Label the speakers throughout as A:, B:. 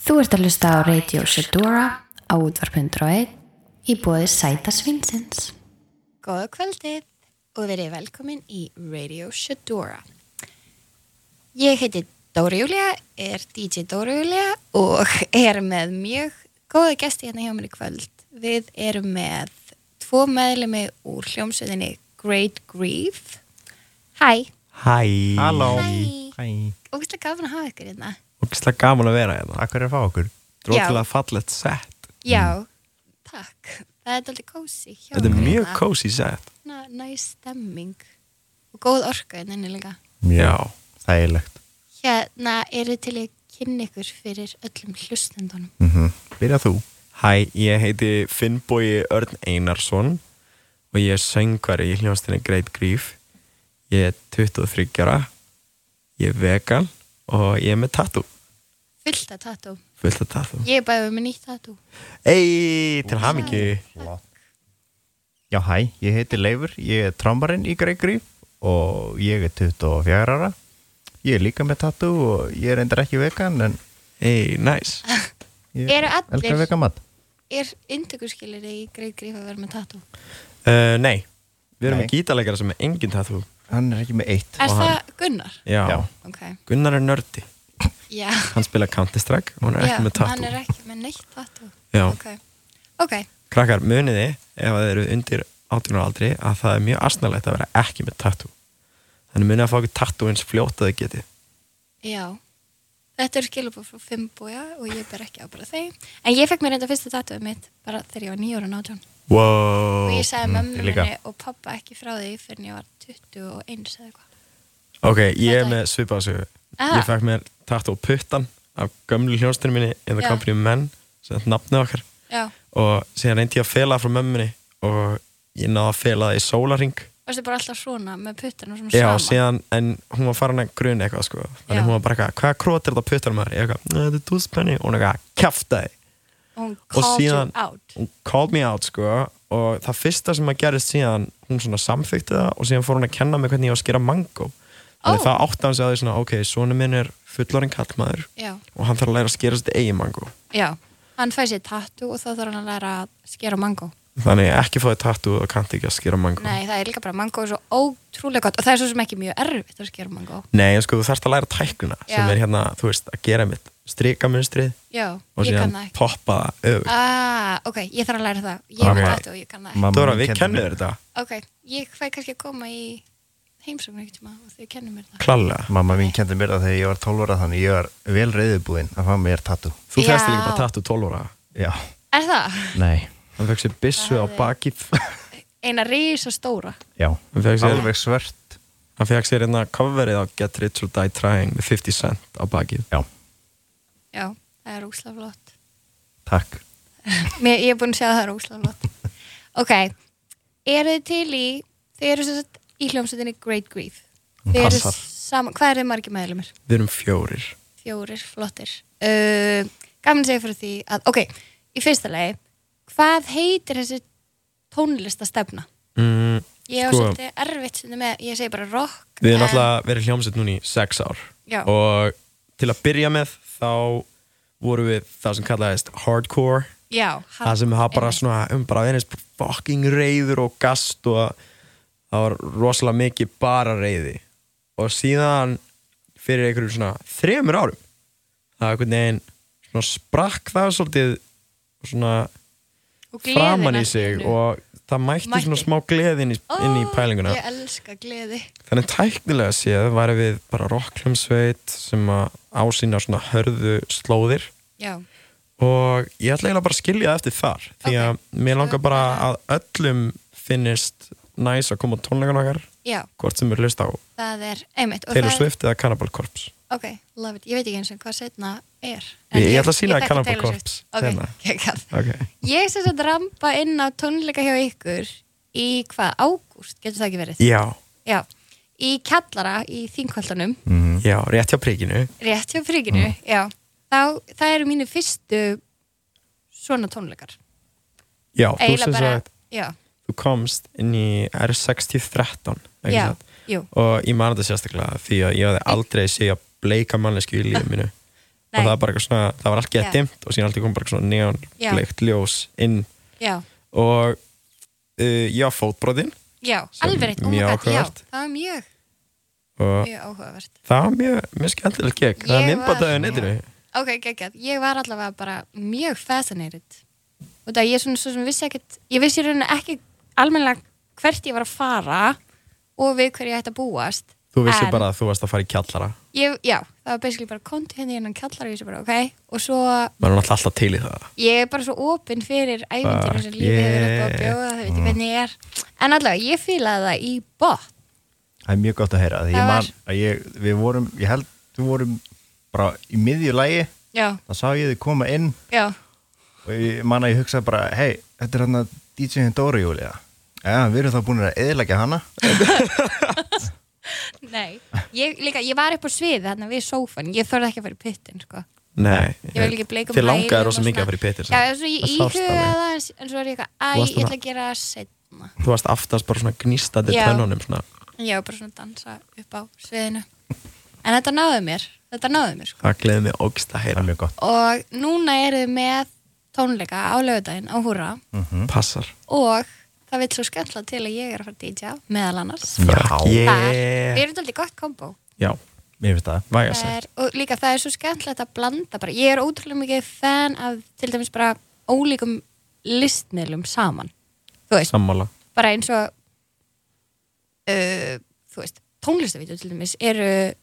A: Þú ert að hlusta á Radio Shedora á útvarp101 í bóði Sæta Svinsins.
B: Góða kvöldið og verið velkomin í Radio Shadora. Ég heiti Dóri Júlia, er DJ Dóri Júlia og er með mjög góða gesti hérna hjá mér í kvöld. Við erum með tvo meðlemi úr hljómsveitinni Great Grief. Hæ,
C: Hæ
D: Halló
B: Hæ.
D: Hæ
B: ógustlega gafin að hafa ykkur hérna.
C: Ógislega gaman að vera hérna
D: Akkur er að fá okkur
C: Drókilega fallett sett
B: Já, takk. Það er aldrei kósi hjá
C: Mm. Þetta er
B: okkur
C: mjög
B: hérna.
C: cozy sett
B: Ná- Næs stemming og góð orka hérna inni líka.
C: Já
D: Þægilegt
B: Hérna eru til að kynna ykkur fyrir öllum hlustendunum.
D: mm Byrja þú
C: Hæ, ég heiti Finnbói Örn Einarsson og ég er söngvari í hljóðastinni Great Grief Ég er 23 ára Ég er vegan og ég er með tattoo
B: Fullt af tattoo.
C: Fullt af tattoo
B: Ég er bæðið með nýtt tattoo.
C: Ei, til hamingju
D: Já, hæ, ég heiti Leifur, ég er trombarinn í Gregory og ég er 24 ára Ég er líka með tattoo og ég er endur ekki vegan en
C: Ei, næs nice.
D: ég
B: Eru allir-
D: elskar vegan mat
B: Er inntökurskilir í greið gríf að vera með tattoo?
C: uh, Nei, við erum
D: Nei.
C: með gítarleikara sem er engin tattoo
D: Hann er ekki með eitt
B: Er það Gunnar?
C: Já,
D: Já.
B: Ok.
C: Gunnar er nördi
B: Já.
C: Hann spila Counter-Strike og hann er
B: Já,
C: ekki með tattoo
B: Hann er ekki með neitt tattoo.
C: Já.
B: Ok. Ok.
C: Krakkar, muniði ef að þið eru undir 18 ára aldri að það er mjög asnalegt að vera ekki með tattoo þannig munið að fá ekki tattoo eins fljótt að þið geti
B: Já. Þetta eru skilabóð frá Fimbója og ég ber ekki ábyrgð á bara þeim. En ég fekk mér enda fyrsta tattooið mitt bara þegar ég var nýjóra nátjón.
C: wow.
B: Og ég sagði mömmu
D: ég líka.
B: minni og pappa ekki frá því fyrir en ég var 21 eða eitthvað.
C: Ok, ég er
B: Þetta-
C: með svipaðsögu
B: Ah.
C: Ég fekk mér tattoo puttan af gömlu hljónstinu minni in the
B: Já.
C: company of men sem þetta nafnið okkar
B: Já.
C: og síðan reyndi ég að fela það frá mömmunni og ég náði að fela það í sólaring
B: Varstu bara alltaf svona með puttana svona
C: Já,
B: saman?
C: síðan, en hún var farin að gruna eitthvað sko þannig
B: Já.
C: hún var bara eitthvað, hvaða krót er þetta puttan maður? Ég eitthvað, "Nei, þetta er túspenni og hún eitthvað, kjaftaði
B: og hún
C: og
B: called
C: síðan-
B: you out
C: hún called me out sko og það fyrsta sem að gerist síðan hún svona samþykti það og síðan fór hún að kenna mig hvernig ég var að skera mango þannig
B: Ó.
C: oh. það átti hann sig að því svona ok, svona minn er fullorinn kallmaður
B: já,
C: og hann þarf að læra að skera sitt eigi mango
B: já, hann fæði sér tattoo og þá þarf hann að læra að skera mango
C: þannig ekki fóði tattoo og kannt ekki að skera mango
B: nei, það er líka bara mango er svo ótrúlega gott og það er svo sem ekki mjög erfitt að skera mango
C: Nei, en sko þú þarft að læra tæknuna
B: Já.
C: sem er hérna, þú veist, að gera mitt strikamunstrið
B: já,
C: og
B: ég
C: síðan
B: kann það ekki
C: poppa það öfugt
B: ah, ok, ég þarf að læra það ég er
C: Ok.
B: með tattoo og ég kann það
D: Mamma
C: Dóra,
D: mín
C: við
D: kenndi
C: kennum
D: mér-
C: þér þetta
B: ekki ok, ég fæ kannski að koma í heimsóknu ekkert tíma og þau kennum mér það
C: klálega
D: Mamma mín kendi mér það þegar ég var 12 ára þannig ég var vel reyðubúinn að fá mér tattoo
C: Þú
B: Já.
C: fæst líka bara tattoo 12 ára
D: Já,
B: er það?
D: nei,
C: Hann fekk sér byssu
B: Það
C: á
B: er-
C: bakið Hann
B: eina risa stóra
D: já,
C: fekk sér
D: alveg svört
C: Hann fekk sér hérna coverið á Get Rich or Die Trying með 50 Cent á bakið.
D: Já,
B: já, það er úslega flott
D: takk
B: Mér, ég er búin að segja að það er óslega flott. Ok, eru þið til í, þið eru svo sett í hljómsveitinni Great Grief. Þið eru
C: Passar.
B: saman, hvað eru þið margir meðlumir?
C: Við erum fjórir.
B: Fjórir, flottir. Uh, gaman að segja fyrir því að, ok, í fyrsta lagi, hvað heitir þessi tónlistastefna?
C: Mm,
B: Ég er
C: Sko-
B: svolítið erfitt stundum með, ég segi bara rock.
C: við erum
B: en-
C: náttúrulega verið hljómsett núna í sex ár.
B: Já.
C: Og til að byrja með þá vorum við það sem kallaðist hardcore.
B: Já,
C: það sem það bara
B: einmitt.
C: svona, um bara verðist fucking reyður og gast og það var rosalega mikið bara reyði. Og síðan fyrir einhverjum svona þremur árum það er einhvern veginn svona sprakk það svolítið svona
B: Og gleðin
C: framan í
B: allt
C: sig
B: einu.
C: og það mætti,
B: Mætti.
C: svona smá gleðin í, inn í
B: Ó,
C: pælinguna
B: Ég elska gleði.
C: þannig tæknilega séð væri við bara rocklumsveit sem að ásýna svona hörðu slóðir
B: Já,
C: og ég ætla eiginlega bara að skilja það eftir þar því að
B: Ok.
C: mér langar bara að öllum finnist næs að koma á tónleikan okkar
B: já,
C: hvort sem er hlust á
B: það er einmitt. og
C: Taylor
B: það-
C: Swift eða Cannibal Corpse
B: Ok, love it. Ég veit ekki eins og hvað setna er.
C: Ég- ég ætla að sýna
B: ég þekki
C: Cannibal
B: Taylor Swift.
C: Corpse seinna.
B: Ok, geggjað.
C: ok
B: Ég sem sagt rampa inn á tónleika hjá ykkur í hvað, ágúst, getur það ekki verið?
C: já,
B: Já. Í Kjallara í Þingvöldunum,
D: Mhm.
C: já, rétt hjá prikinu
B: rétt hjá friginu,
C: Mm.
B: já. Þá, það eru mínu fyrstu svona tónleikar.
C: já, þú
B: Eiginlega
C: sem sagt,
B: já,
C: þú komst inn í R6013 ekki
B: já,
C: satt?
B: jú.
C: og ég man þetta sérstaklega því að ég hafði aldrei séð að bleika mannesku í lífið mínu og
B: Nei.
C: það, var bara eitthvað svona, það var allt
B: Já.
C: gett dimmt og síðan allt í kom bara eitthvað svona
B: Já.
C: neonbleikt ljós inn
B: já,
C: og uh, já, fótbrotinn
B: já,
C: Sem
B: alveg rétt, oh my god,
C: mjög
B: já,
C: áhugavert.
B: það var mjög,
C: og
B: mjög áhugavert.
C: það var mjög, mjög skemmtilegt gegn það
B: Ég
C: er
B: var-
C: minnbataðið neytinu
B: Ok, geggjað, ég var allavega bara mjög fascinated og það ég svona svo sem vissi ekkert ég vissi í rauninni ekki almennilega hvert ég var að fara og við hverju ég ætti að búast
C: þú vissi
B: En-
C: bara að þú varst að fara í kjallara
B: ég, Já, það var basically bara hérna konti henni hennan kallar og ég sé bara ok og svo
C: maður er náttúrulega alltaf til í það
B: ég er bara svo opinn fyrir æfintýrum sem
C: Fuck,
B: lífið hefur upp á að
C: yeah.
B: bjóða það
C: Mm.
B: veit ég hvernig ég er en allavega ég fílaði það í bot
D: Það er mjög gott að heyra því
B: Það
D: ég
B: var-
D: man að ég, við vorum, ég held við vorum bara í miðju lægi
B: Já,
D: þá sá ég þið koma inn
B: já,
D: og ég man að ég hugsa bara hei, þetta er hann að DJ-in Dóri Júlia Já, við erum þá búin að eðilegja hana
B: nei ég, líka, ég var upp á sviði þarna við sófan ég þorði ekki að fara í pittin sko
C: Nei,
B: ég vil ekki bleika
C: þið langaði rosa mikið að fara í Petersen
B: já, svo ég
C: Það sást
B: íhugaði
C: alveg.
B: það en- en svo er ég eitthvað, æ,
C: Þú varst
B: ég
C: svona-
B: ætla að gera setna
C: þú varst aftast bara svona gnýstandi
B: Já.
C: tönnunum svona.
B: ég var bara svona að dansa upp á sviðinu en þetta náði mér þetta náði mér sko.
C: það gleði mig ógst
D: Það
C: að heyra
D: er mjög gott
B: og núna eru við með tónleika á lögudaginn á Húra
C: Mm. passar
B: og það vil svo skemmtla til að ég er að fara að DJ meðal annars
C: Fuck
B: Þar, við
C: Mm. yeah
B: erum alltaf gott kombo
C: já,
D: Mér finnst það
C: væga
B: Það
C: sig
B: er, og líka það er svo skemmtilegt að blanda bara, ég er ótrúlega mikið fan af til dæmis bara ólíkum listmiðlum saman þú veist,
C: sammála
B: bara eins og uh, þú veist, tónlistavídeó til dæmis eru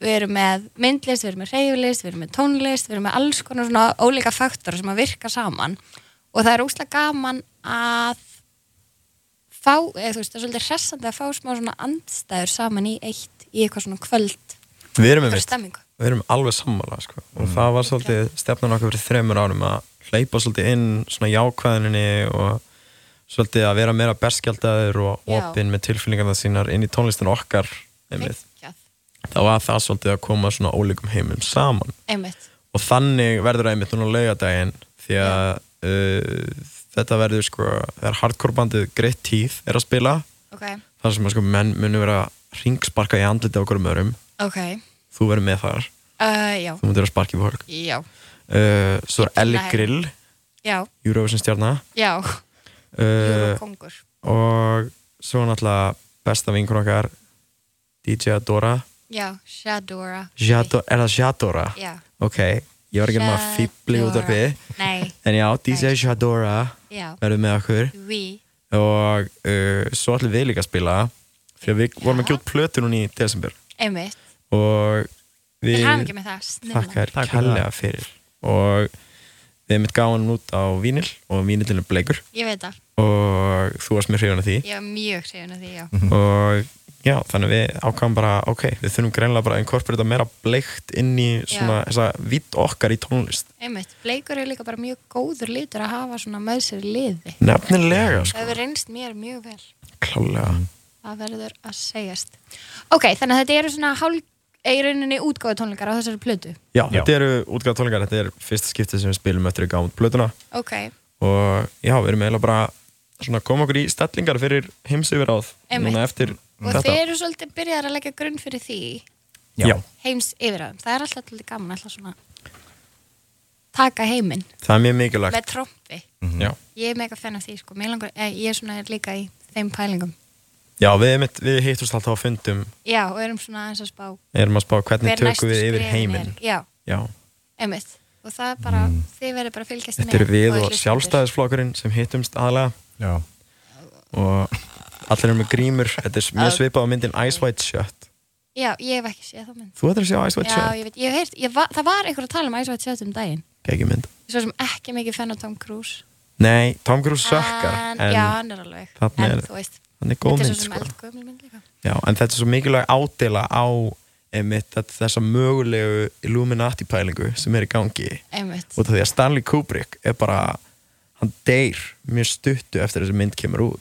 B: við erum með myndlist, við erum með reyflist við erum með tónlist, við erum með alls konar svona ólíka faktora sem að virka saman og það er óslega gaman að fá, eða þú veist, það er svolítið hressandi að fá smá svona andstæður saman í eitt í eitthvað svona kvöld
C: við erum,
B: eitthvað
C: einmitt,
B: stemmingu
C: við erum alveg sammála sko. og það var svolítið stefnan okkur fyrir þremur árum að hleypa svolítið inn svona jákvæðinni og svolítið að vera meira berskjaldæður og
B: Já.
C: opinn með tilfinningarna sínar inn í tónlistin okkar einmitt.
B: Geggjað.
C: þá var það svolítið að koma svona ólíkum heimum saman
B: einmitt,
C: og þannig verður það einmitt núna laugadaginn því að uh, þetta verður sko, það er hardcore bandið Great Teeth er að spila
B: ok,
C: þar sem að sko menn munu vera ringsparka í andliti á okkur um örum
B: ok
C: þú verður með þar,
B: uh, já,
C: þú mútur að sparka í fólk
B: já,
C: uh, svo er Ellie
B: Nei.
C: Grill
B: já
C: Eurovision stjarnar
B: já,
C: uh,
B: uh, kongur
C: og svo náttúrulega besta vinkun okkar DJ Adora
B: Já, Shadora
C: Jado, er það Jadora?
B: Já.
C: ok, ég var ekki með að fýbli út af því
B: Nei,
C: en já, DJ
B: Nei.
C: Jadora
B: já,
C: verður með okkur
B: við
C: og uh, svo ætlum við líka að spila því að við vorum að gjóta plötu núna í desember
B: Einmitt,
C: og
B: við
C: við
B: hafum ekki með það snilla.
C: þakkar
D: Takk fyrir
C: kærlega fyrir og við erum mitt gáðan út á vínil og vínilin er bleikur
B: Ég veit það,
C: og þú varst mér hrifun af því
B: ég var mjög hrifin af því, já
C: Mm. og já, þannig við ákvæmum bara ok, við þurfum greinlega bara að inkorporita meira bleikt inn í svona
B: Já.
C: þessa vitt okkar í tónlist
B: Einmitt, bleikur er líka bara mjög góður litur að hafa svona með sér í liði
C: nefnilega, Mm.
B: Það
C: sko,
B: hefur reynst mér mjög vel
C: klálega
B: Það verður að segjast Ok, þannig að þetta eru svona hálf í rauninni útgáðu tónleikar á þessari plötu
C: já,
D: Já.
C: þetta eru útgáð tónleikar, þetta er fyrsta skiptið sem við spilum eftir að gáðum plötuna
B: Ok,
C: og já, við erum eiginlega bara svona að koma okkur í stellingar fyrir heimsyfiráð
B: Einmitt.
C: núna eftir
B: og
C: þetta
B: þið eru svolítið byrjaðar að leggja grunn fyrir því
C: já.
B: heims yfirraðum Það er alltaf til gaman alltaf svona taka heiminn
C: það er mjög mikilvægt
B: með trompi
D: Mhm.
C: já.
B: ég er mega fan af því sko Mig langar, eh, ég er svona líka í þeim pælingum
C: já, við, einmitt- við hittumst alltaf á fundum
B: já og erum svona aðeins að spá
C: erum að spá hvernig
B: hver næstu
C: tökum við yfir
B: skrefin
C: heiminn
B: er. já,
C: já.
B: einmitt og það er bara, þið verður bara að fylgjast
C: þetta eru við og
B: hlustendur.
C: sjálfstæðisflokkurinn sem hittumst aðlega
D: Já,
C: og allir eru með grímur þetta er mjög
B: Að-
C: svipað á myndin Ice White Shut
B: já, ég hef ekki séð það mynd
C: þú ættir að sjá Ice White
B: já,
C: Shut,
B: ég veit, ég hef heyrt, ég va, það var einhver að tala um Ice White Shut um daginn
C: ekki mynd
B: svo sem ekki mikið fenn á Tom Cruise
C: nei, Tom Cruise sökkar
B: en,
C: en,
B: já, hann er alveg
C: þarna
B: en
C: er-
B: þú veist,
C: hann er góð
B: þetta er
C: mynd
B: svo sem
C: sko.
B: eldgömul mynd líka
C: Já, en þetta er svo mikilvæg ádela á einmitt að þessa mögulegu Illuminati pælingu sem er í gangi
B: einmitt,
C: út af því að Stanley Kubrick er bara, hann deyr mjög stuttu eftir þessi mynd kemur út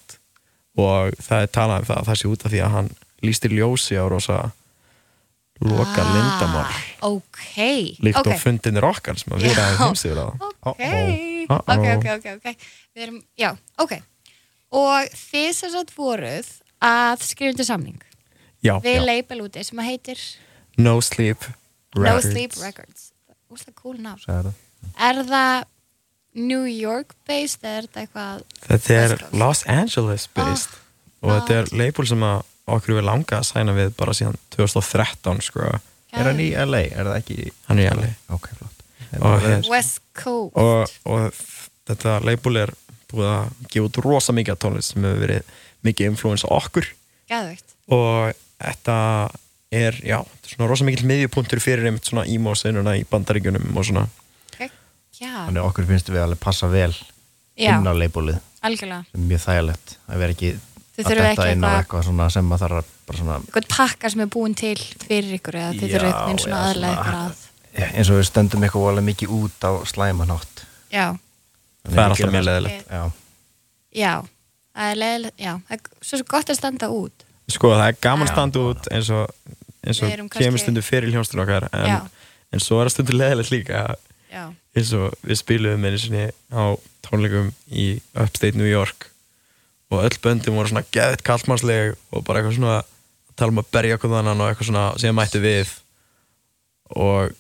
C: og það er talað um það að það sé út af því að hann lísti ljósi á rosa loka ah, lindamál
B: ah, ok
C: líkt
B: ok.
C: og fundinir okkar sem að um við erum heimsýður á
B: ok,
C: Uh-oh.
B: ok, ok, ok, ok við erum, já, ok og þið sem sagt voruð að skrifa undir samning
C: Oh, Já,
B: við
C: já.
B: label úti sem að heitir
C: No Sleep
B: No Sleep Records Úsla cool nafn
D: sagði það.
B: Er það New York based eða er þetta eitthvað
C: Þetta er
B: West Coast?
C: Los Angeles
B: Oh
C: based og þetta er label sem að okkur við langa að sæna við bara síðan 2013 sko,
D: Er hann í LA? Er það ekki?
C: hann er jæli
D: Ok, flott.
C: Og hér-
B: West Coast
C: og, og þetta label er búið að gefa út rosa mikið af tónlist sem hefur verið mikið influens á okkur
B: Gæðvegt
C: og þetta er, já, þetta er svona rosa mikill miðjupunktur fyrir einmitt svona emo-seinuna í bandaríkjunum og svona
B: Já,
D: Þannig að okkur finnst við alveg passa vel
B: já,
D: inn á leibólið.
B: algjörlega
D: Mjög þægilegt að vera ekki
B: Þið
D: að
B: þurfum
D: detta
B: ekki
D: inn á
B: eitthvað-
D: eitthvað svona sem maður þarf að bara svona
B: eitthvað pakka sem er búin til fyrir ykkur eða þið
D: Já,
B: þurfum einhvern svona
D: eða
B: aðlega ykkur
D: svona-
B: að
D: Já, eins og við stöndum eitthvað voðalega mikið út á slæmanátt
B: Já,
C: það er alltaf mjög leðilegt
D: Já,
B: já, það er leiðilegt Já, það er svo svo gott að standa út
C: sko það er gaman að standa út eins og, eins og
B: Við erum
C: kemur
B: kannski-
C: stundu fyrir hljómsdun okkar
B: Já.
C: en, en svo er það stundu leðilegt líka
B: Já,
C: eins og við spiluðum einu sinni á tónleikum í Upstate New York og öll böndin voru svona geðitt kallmannsleg og bara eitthvað svona að tala um að berja okkur þannan og eitthvað svona sem mættu við og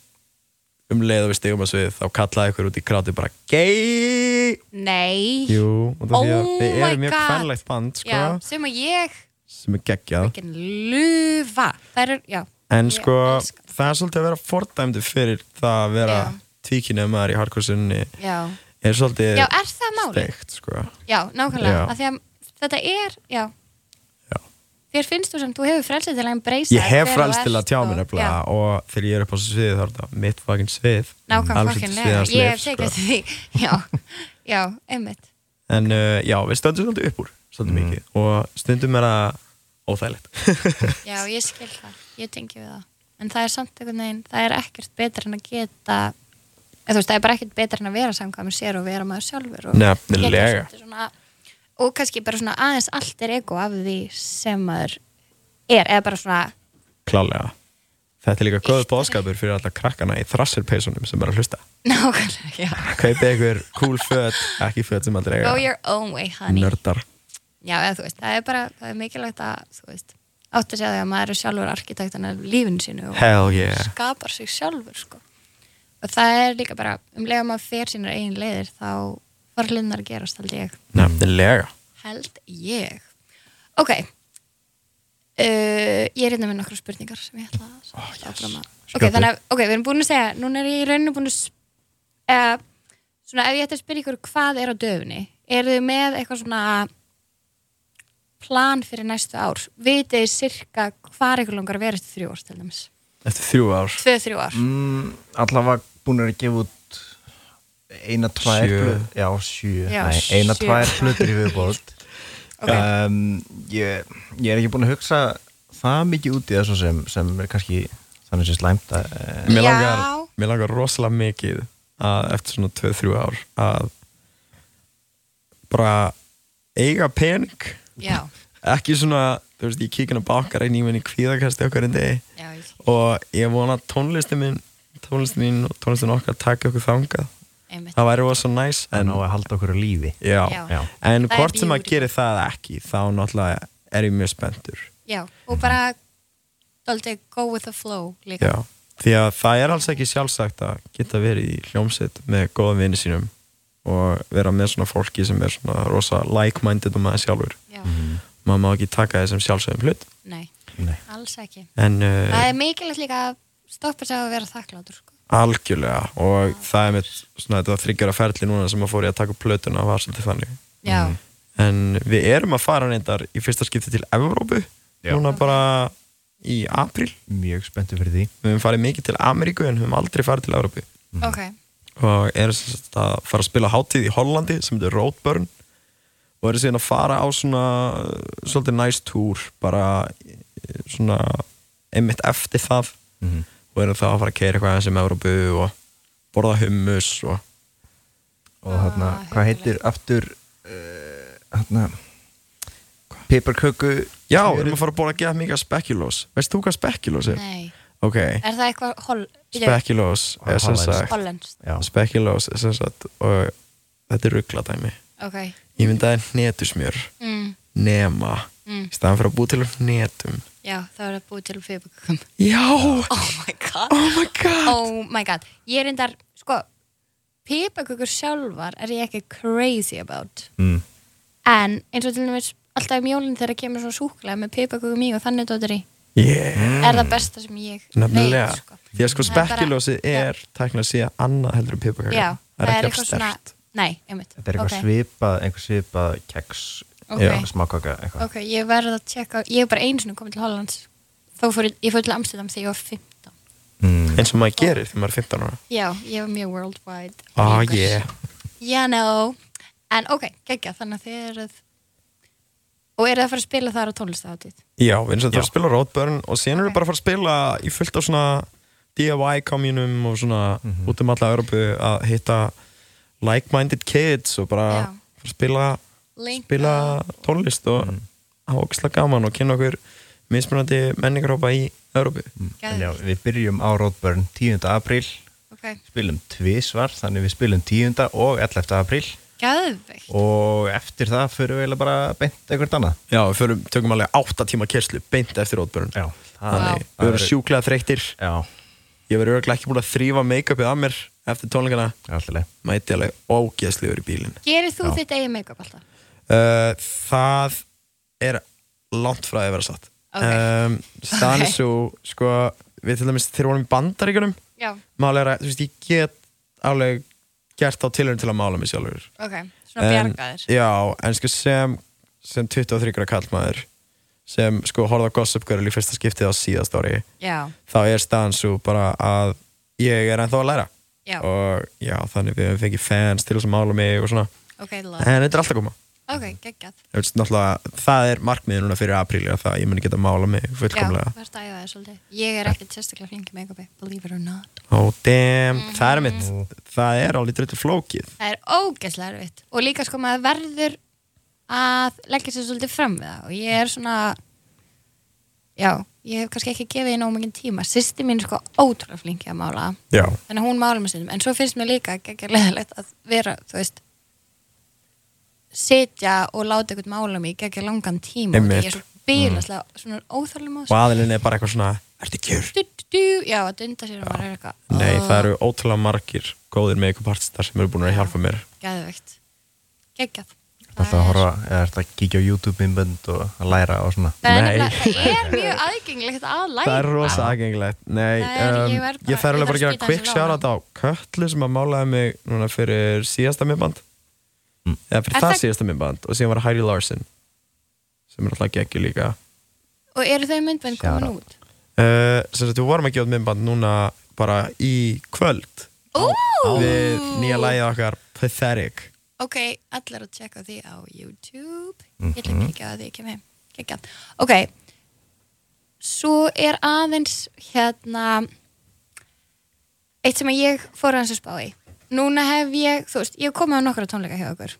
C: um leið og við stigum að svið þá kallaði ykkur út í kráti bara gay
B: nei
C: Jú, og það því að
B: Oh
C: við
B: my
C: erum mjög
B: God.
C: kvænlegt band sko,
B: Já, sem að ég
C: sem er geggjað
B: ekki lufa Það er, já,
C: En
B: Ég
C: sko,
B: elska
C: það er svolítið að vera fordæmdi fyrir það að vera
B: Já.
C: tvíkinnið maður í hardcore-sunni
B: já
C: er svolítið
B: Já, er það máli?
C: steikt, sko.
B: Já, nákvæmlega,
C: Já.
B: af því að þetta er, já
C: Já.
B: Þér finnst þú sem, þú hefur frelsið til að embracea
C: Ég hef
B: hver þú
C: frelst til
B: ert
C: að tjá
B: og-
C: mér
B: Já.
C: nefnilega og þegar ég er upp á þessu sviði þá er þetta mitt fucking svið
B: Nákvæm
C: Alls
B: fokkin
C: ekki
B: lega,
C: sviðans
B: ég
C: lyf,
B: hef tekið
C: sko.
B: eftir því Já, já, einmitt
C: En uh, já, við stöndum svolítið upp úr svolítið mikið og stundum er það óþægilegt
B: Já, ég skil það, ég tengi við það En það er samt einhvern veginn, það er ekkert betra en að geta eða þú veist, það er bara ekkert betra en að vera samkvæmur sér og vera maður sjálfur og
C: Nefnilega.
B: geta svolítið svona, og kannski bara svona aðeins allt er ego af því sem maður er, eða bara svona
C: Klálega Þetta er líka góð bóðskapur fyrir alla krakkana í þrassirpeysunum sem er að hlusta
B: nákvæmlega, já
C: Kaupið ykkur cool föt, ekki föt sem aldrei
B: Go
C: eiga
B: your own way, honey
C: Nördar
B: Já, eða þú veist, það er bara, það er mikilvægt að þú veist, átt að segja því að maður er sjálfur arkitektan af lífinu sínu og
C: Hell yeah
B: skapar sig sjálfur sko. og það er líka bara um leiða maður fer sínar eigin leiðir þá var hlinnar að gerast held ég
C: Nefnilega
B: held ég ok uh, ég er hérna með nokkra spurningar sem ég ætla að oh, yes. ok,
C: Skjóttu.
B: þannig að ok, við erum búin að segja núna er ég í rauninu búin að uh, svona ef ég ætti að spyrja ykkur hvað er á döfni eru þið með eitthvað svona plan fyrir næstu ár vitið þið sirka hvað ykkur langar að vera eftir þrjú ár til dæmis
C: Eftir þrjú ár
B: tvö, þrjú ár
D: mm, allavega búin að gefa út eina, tvær
C: Sjö.
D: plö- Já, sjö,
B: Já,
D: nei, eina,
B: sjö.
D: tvær hlutur í viðbótt um, ég, ég er ekki búin að hugsa það mikið út í þessu sem, sem er kannski þannig sem slæmt að eh,
C: Mér
B: Já.
C: langar, mér langar rosalega mikið að eftir svona 2-3 ár að bara eiga pening
B: já,
C: ekki svona, þú veist, ég kíkin á bakkar einn í minni kvíðakasti okkar en degi
B: já, ég skil,
C: og ég vona að tónlistin minn tónlistin mín og tónlistin okkar taki okkur þangað
B: einmitt
C: það væri rosa næs
D: en
C: en,
D: á að halda okkur á lífi
C: já.
B: Já.
C: en
B: Það er
C: hvort sem að
B: beauty.
C: gera það eða ekki þá náttúrulega er ég mjög spenntur
B: já, og bara daldið go with the flow líka
C: Já, því að það er alls ekki sjálfsagt að geta verið í hljómsveit með góða vini sínum og vera með svona fólki sem er svona rosa like-minded og maður sjálfur
B: Já,
C: maður má ekki taka þessum sjálfsögum hlut
B: nei,
D: Nei.
B: alls ekki
C: en uh,
B: Það er mikilvægt líka að stoppa sig á að vera þakklátur sko.
C: algjörlega og það er mitt svona þetta þryggjara ferli núna sem að fór ég að taka upp plötuna var svolítið þannig
B: Já,
C: Mhm, en við erum að fara reyndar í fyrsta skipti til Evrópu
D: Já.
C: núna bara í april
D: mjög spenntu fyrir því
C: við höfum farið mikið til Ameríku en höfum aldrei farið til Evrópu
B: ok
C: og eru sem sagt að fara að spila hátíð í Hollandi sem heitir Roadburn og eru síðan að fara á svona uh, svolítið næst nice túr bara eh, svona einmitt eftir það og eru þá að fara að keira eitthvað sem Európu og borða hummus og
D: og hérna, hvað heitir aftur uh, hérna piparköku
C: já, við erum að fara að borða að geða mikið spekulós veist þú hvað spekulós er?
B: Nei,
C: ok,
B: er það eitthvað hol...
C: spekulós er sem
D: Hollands.
C: sagt
B: Hollands,
D: já,
C: spekulós er sem sagt og þetta er ruggladæmi
B: ok
C: ég myndi að það er hnetusmjör
B: mm.
C: nema
B: Mm.
C: í staðan fyrir að búa til úr netum
B: Já, þá er það búið til fyrirbökum.
C: já, oh,
B: Oh my god.
C: my god
B: Oh my god. Ég er endar, sko, pipakökur sjálfar er ég ekki crazy about.
D: mm.
B: En eins og til dæmis alltaf um jólinn þegar kemur svona súkulega með pipakökum í og þannig dóttir í.
C: yeah.
B: Er það besta sem ég
C: nefnilega,
B: veit, sko.
C: því að sko
B: Það er bara-
C: spekkulósið er tækna að sé annað heldur en pipakaka
B: Já,
C: það er ekki afstert svona...
B: Nei, einmitt.
D: Þetta er eitthvað
B: Ok.
D: svipað, einhver svipað keks,
B: Ok.
D: já, smákaka eitthvað.
B: Ok, ég verði að tjekka, ég er bara einu sinni komið til Hollands þá fór ég, ég fór til Amsterdam þegar ég var 15
D: Mm.
C: eins og maður gerir þegar maður er 15 ára
B: Já, ég var mjög worldwide
C: ah
B: Lengur.
C: yeah,
B: Yeah, no En ok, geggja, þannig að þið eruð og eruð að fara að spila þar á tónlistahátíð
C: já, við erum sem þetta
D: Já.
C: að spila Roadburn og síðan erum við bara að fara að spila í fullt á svona DIY kommunum og svona
B: Mhm.
C: út um alla Európu að hitta like-minded kids og bara
B: Já.
C: fara að spila
B: Link Mhm.
C: spila tónlist og hafa okkslega gaman og kynna okkur mismunandi menningarópa í Európu
B: Mhm.
D: En já,
B: Geðveikt.
D: við byrjum á Roadburn 10. apríl,
B: Ok,
D: spilum tvísvar, þannig við spilum 10. og 11. apríl
B: gæðveikt
D: og eftir það fyrir við eiginlega bara beint eitthvað annað.
C: Já, við förum, tökum alveg 8 tíma kerslu beint eftir Roadburn
D: Já, það
C: Þannig,
D: Vá.
C: við erum sjúklega þreyttir
D: Já,
C: Ég verður örglega ekki búin að þrýfa make-upið að mér eftir tónleikana
D: alltaf.
C: mæti alveg ógeðslegur í bílinn
B: Gerir þú
D: Já.
B: þitt eigin make-up alltaf?
C: uh, Það er langt frá því að vera satt
B: Ok.
C: um, Staðan er
B: Ok.
C: svo sko, við til dæmis þegar vorum í bandaríkjunum
B: Já,
C: málega, þú veist, ég get alveg gert á tilhörn til að mála mig sjálfur
B: ok, svona bjargaðir
C: Já, en sko sem sem 23 gráð kallmaður sem sko horfði á Gossip Girl í fyrsta skiptið á síðast ári
B: Já,
C: þá er staðan svo bara að ég er ennþá að læra
B: já,
C: og já, þannig við höfum fengið fans til þess að mála mig og svona
B: ok, love
C: en þetta er alltaf að koma
B: Ok, geggjað
C: Þú veist, náttúrulega, það er markmiðið núna fyrir apríli að það ég muni geta mála mig
B: Já,
C: fullkomlega
B: verðst að æfa þér svolítið Ég er ekkert sérstaklega flink í make-upi, believe it or not
C: Ó, damn,
B: Mm.
C: það er mitt það er alveg dröldur flókið
B: Það er ógeðslega erfitt og líka sko maður verður að leggja sér svolítið fram við það og ég er svona já, ég hef kannski ekki gefið því nóg mikið tíma sýsti mín er sko ótrúlega flinki að mála
C: Já,
B: þannig að hún mála með sinum en svo finnst mér líka ekki leðilegt að vera þú veist sitja og láta eitthvað mála mig ekki langan tíma og
C: Einmitt. Mm.
B: ég er svo bílaslega svona óþálega
C: og
B: mála
C: aðilinn er bara eitthvað svona Ertu kjör?
B: já, að dunda sér og maður er eitthvað
C: Nei,
B: "Ah,
C: það eru ótrúlega margir góðir með ykkur partistar sem eru búin að hjálpa mér
B: geðveikt, geggjað
D: Þetta
B: Það
D: að
B: er-
D: horfa, eða þetta að kíkja á YouTube-inbönd og að læra og svona.
B: Það er,
C: Nei.
B: nefnilega- það er mjög aðgengilegt að læra
C: Það er rosa aðgengilegt Nei,
B: Það er-
C: um,
B: ég verð bara-
C: ég þarf
B: ég
C: alveg
B: þarf
C: bara að
B: að
C: gera
B: skýta
C: quick
B: þessu
C: shout á Köllu sem að málaði mig núna fyrir síðasta minnband eða fyrir
B: Er
C: það
B: það-
C: síðasta minnband og síðan var Heidi Larson sem er alltaf geggjur líka
B: Og eru þau myndbönd
D: Shout
B: komin
D: out.
B: út?
C: uh, sem sagt, við vorum að gefa út minnband núna bara í kvöld
B: Ó,
C: við nýja lagið okkar Pathetic
B: Ok, allir að tjekka því á YouTube Ég ætla ekki að því ekki með Kekja. Ok Svo er aðeins hérna eitt sem að ég fór hans að spá í Núna hef ég, þú veist, ég hef komið á nokkra tónleika hjá okkur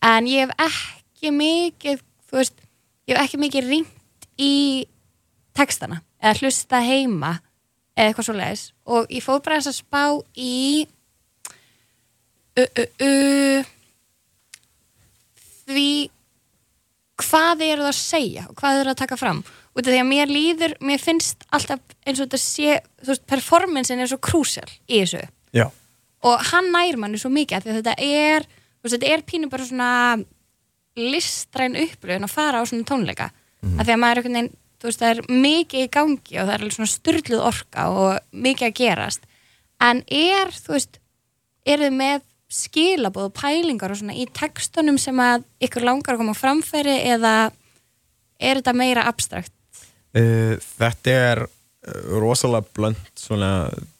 B: en ég hef ekki mikið þú veist, ég hef ekki mikið ringt í textana eða hlusta heima eða eitthvað svo leiðis og ég fór bara þess að spá í ö, ö, ö, því hvað þið eruð að segja og hvað þið eruð að taka fram út af því að mér líður, mér finnst alltaf eins og þetta sé, þú veist, performancein er svo krúsel í þessu
C: Já
B: og hann nær manni svo mikið af því að þetta er, þú veist, þetta er pínu bara svona listræn upplöfun að fara á svona tónleika af því að maður er einhvern veginn, þú veist, það er mikið í gangi og það er alveg svona styrluð orka og mikið að gerast en er, þú veist, eru þið með skilabóð og pælingar og svona í textunum sem að ykkur langar að koma á framfæri eða er þetta meira abstrakt?
C: Uh, þetta er uh, rosalega blönd svona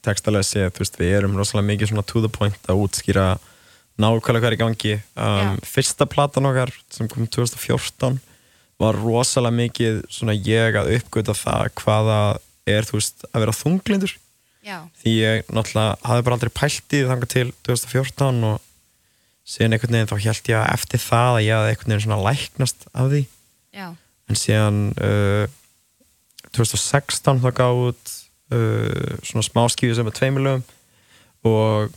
C: textalega séð, þú veist, við erum rosalega mikið svona to the point að útskýra nákvæmlega hvað er í gangi um,
B: Já.
C: fyrsta platan okkar sem kom 2014 var rosalega mikið svona ég að uppgöta það hvaða er, þú veist, að vera þunglindur
B: Já,
C: því ég náttúrulega hafði bara aldrei pælt í því þangað til 2014 og síðan einhvern veginn þá held ég að eftir það að ég hafði einhvern veginn svona læknast af því
B: já,
C: en síðan uh, 2016 þá gaf út uh, svona smáskífi sem er tveimilögum og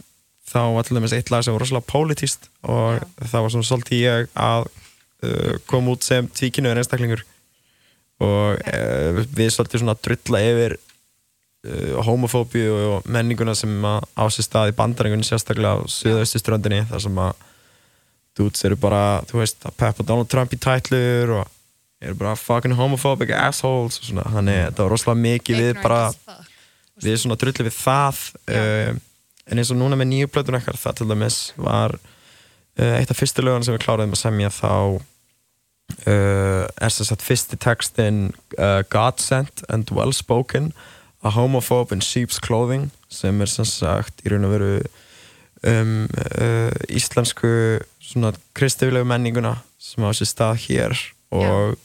C: þá var til dæmis eitt lag sem var rosalega pólitíst og það var svona svolítið ég að uh, kom út sem tvíkinu er einstaklingur og uh, við svolítið svona drulla yfir uh, homofóbíu og menninguna sem að á sér stað í bandarengunni sérstaklega á suðaustuströndinni þar sem að dudes eru bara, þú veist, að peppa Donald Trump í tætlur og eru bara fucking homophobic assholes og svona, þannig þetta var rosalega mikið við bara við svona drullið við það uh, en eins og núna með nýju plötun ekkert það til dæmis var uh, eitt af fyrstu lögun sem við kláraðum að semja þá uh, er þess að fyrsti textin uh, God sent and well spoken a homophobe in sheep's clothing sem er sem sagt í raun og veru um uh, íslensku svona kristiflegu menninguna sem á sér stað hér og uh,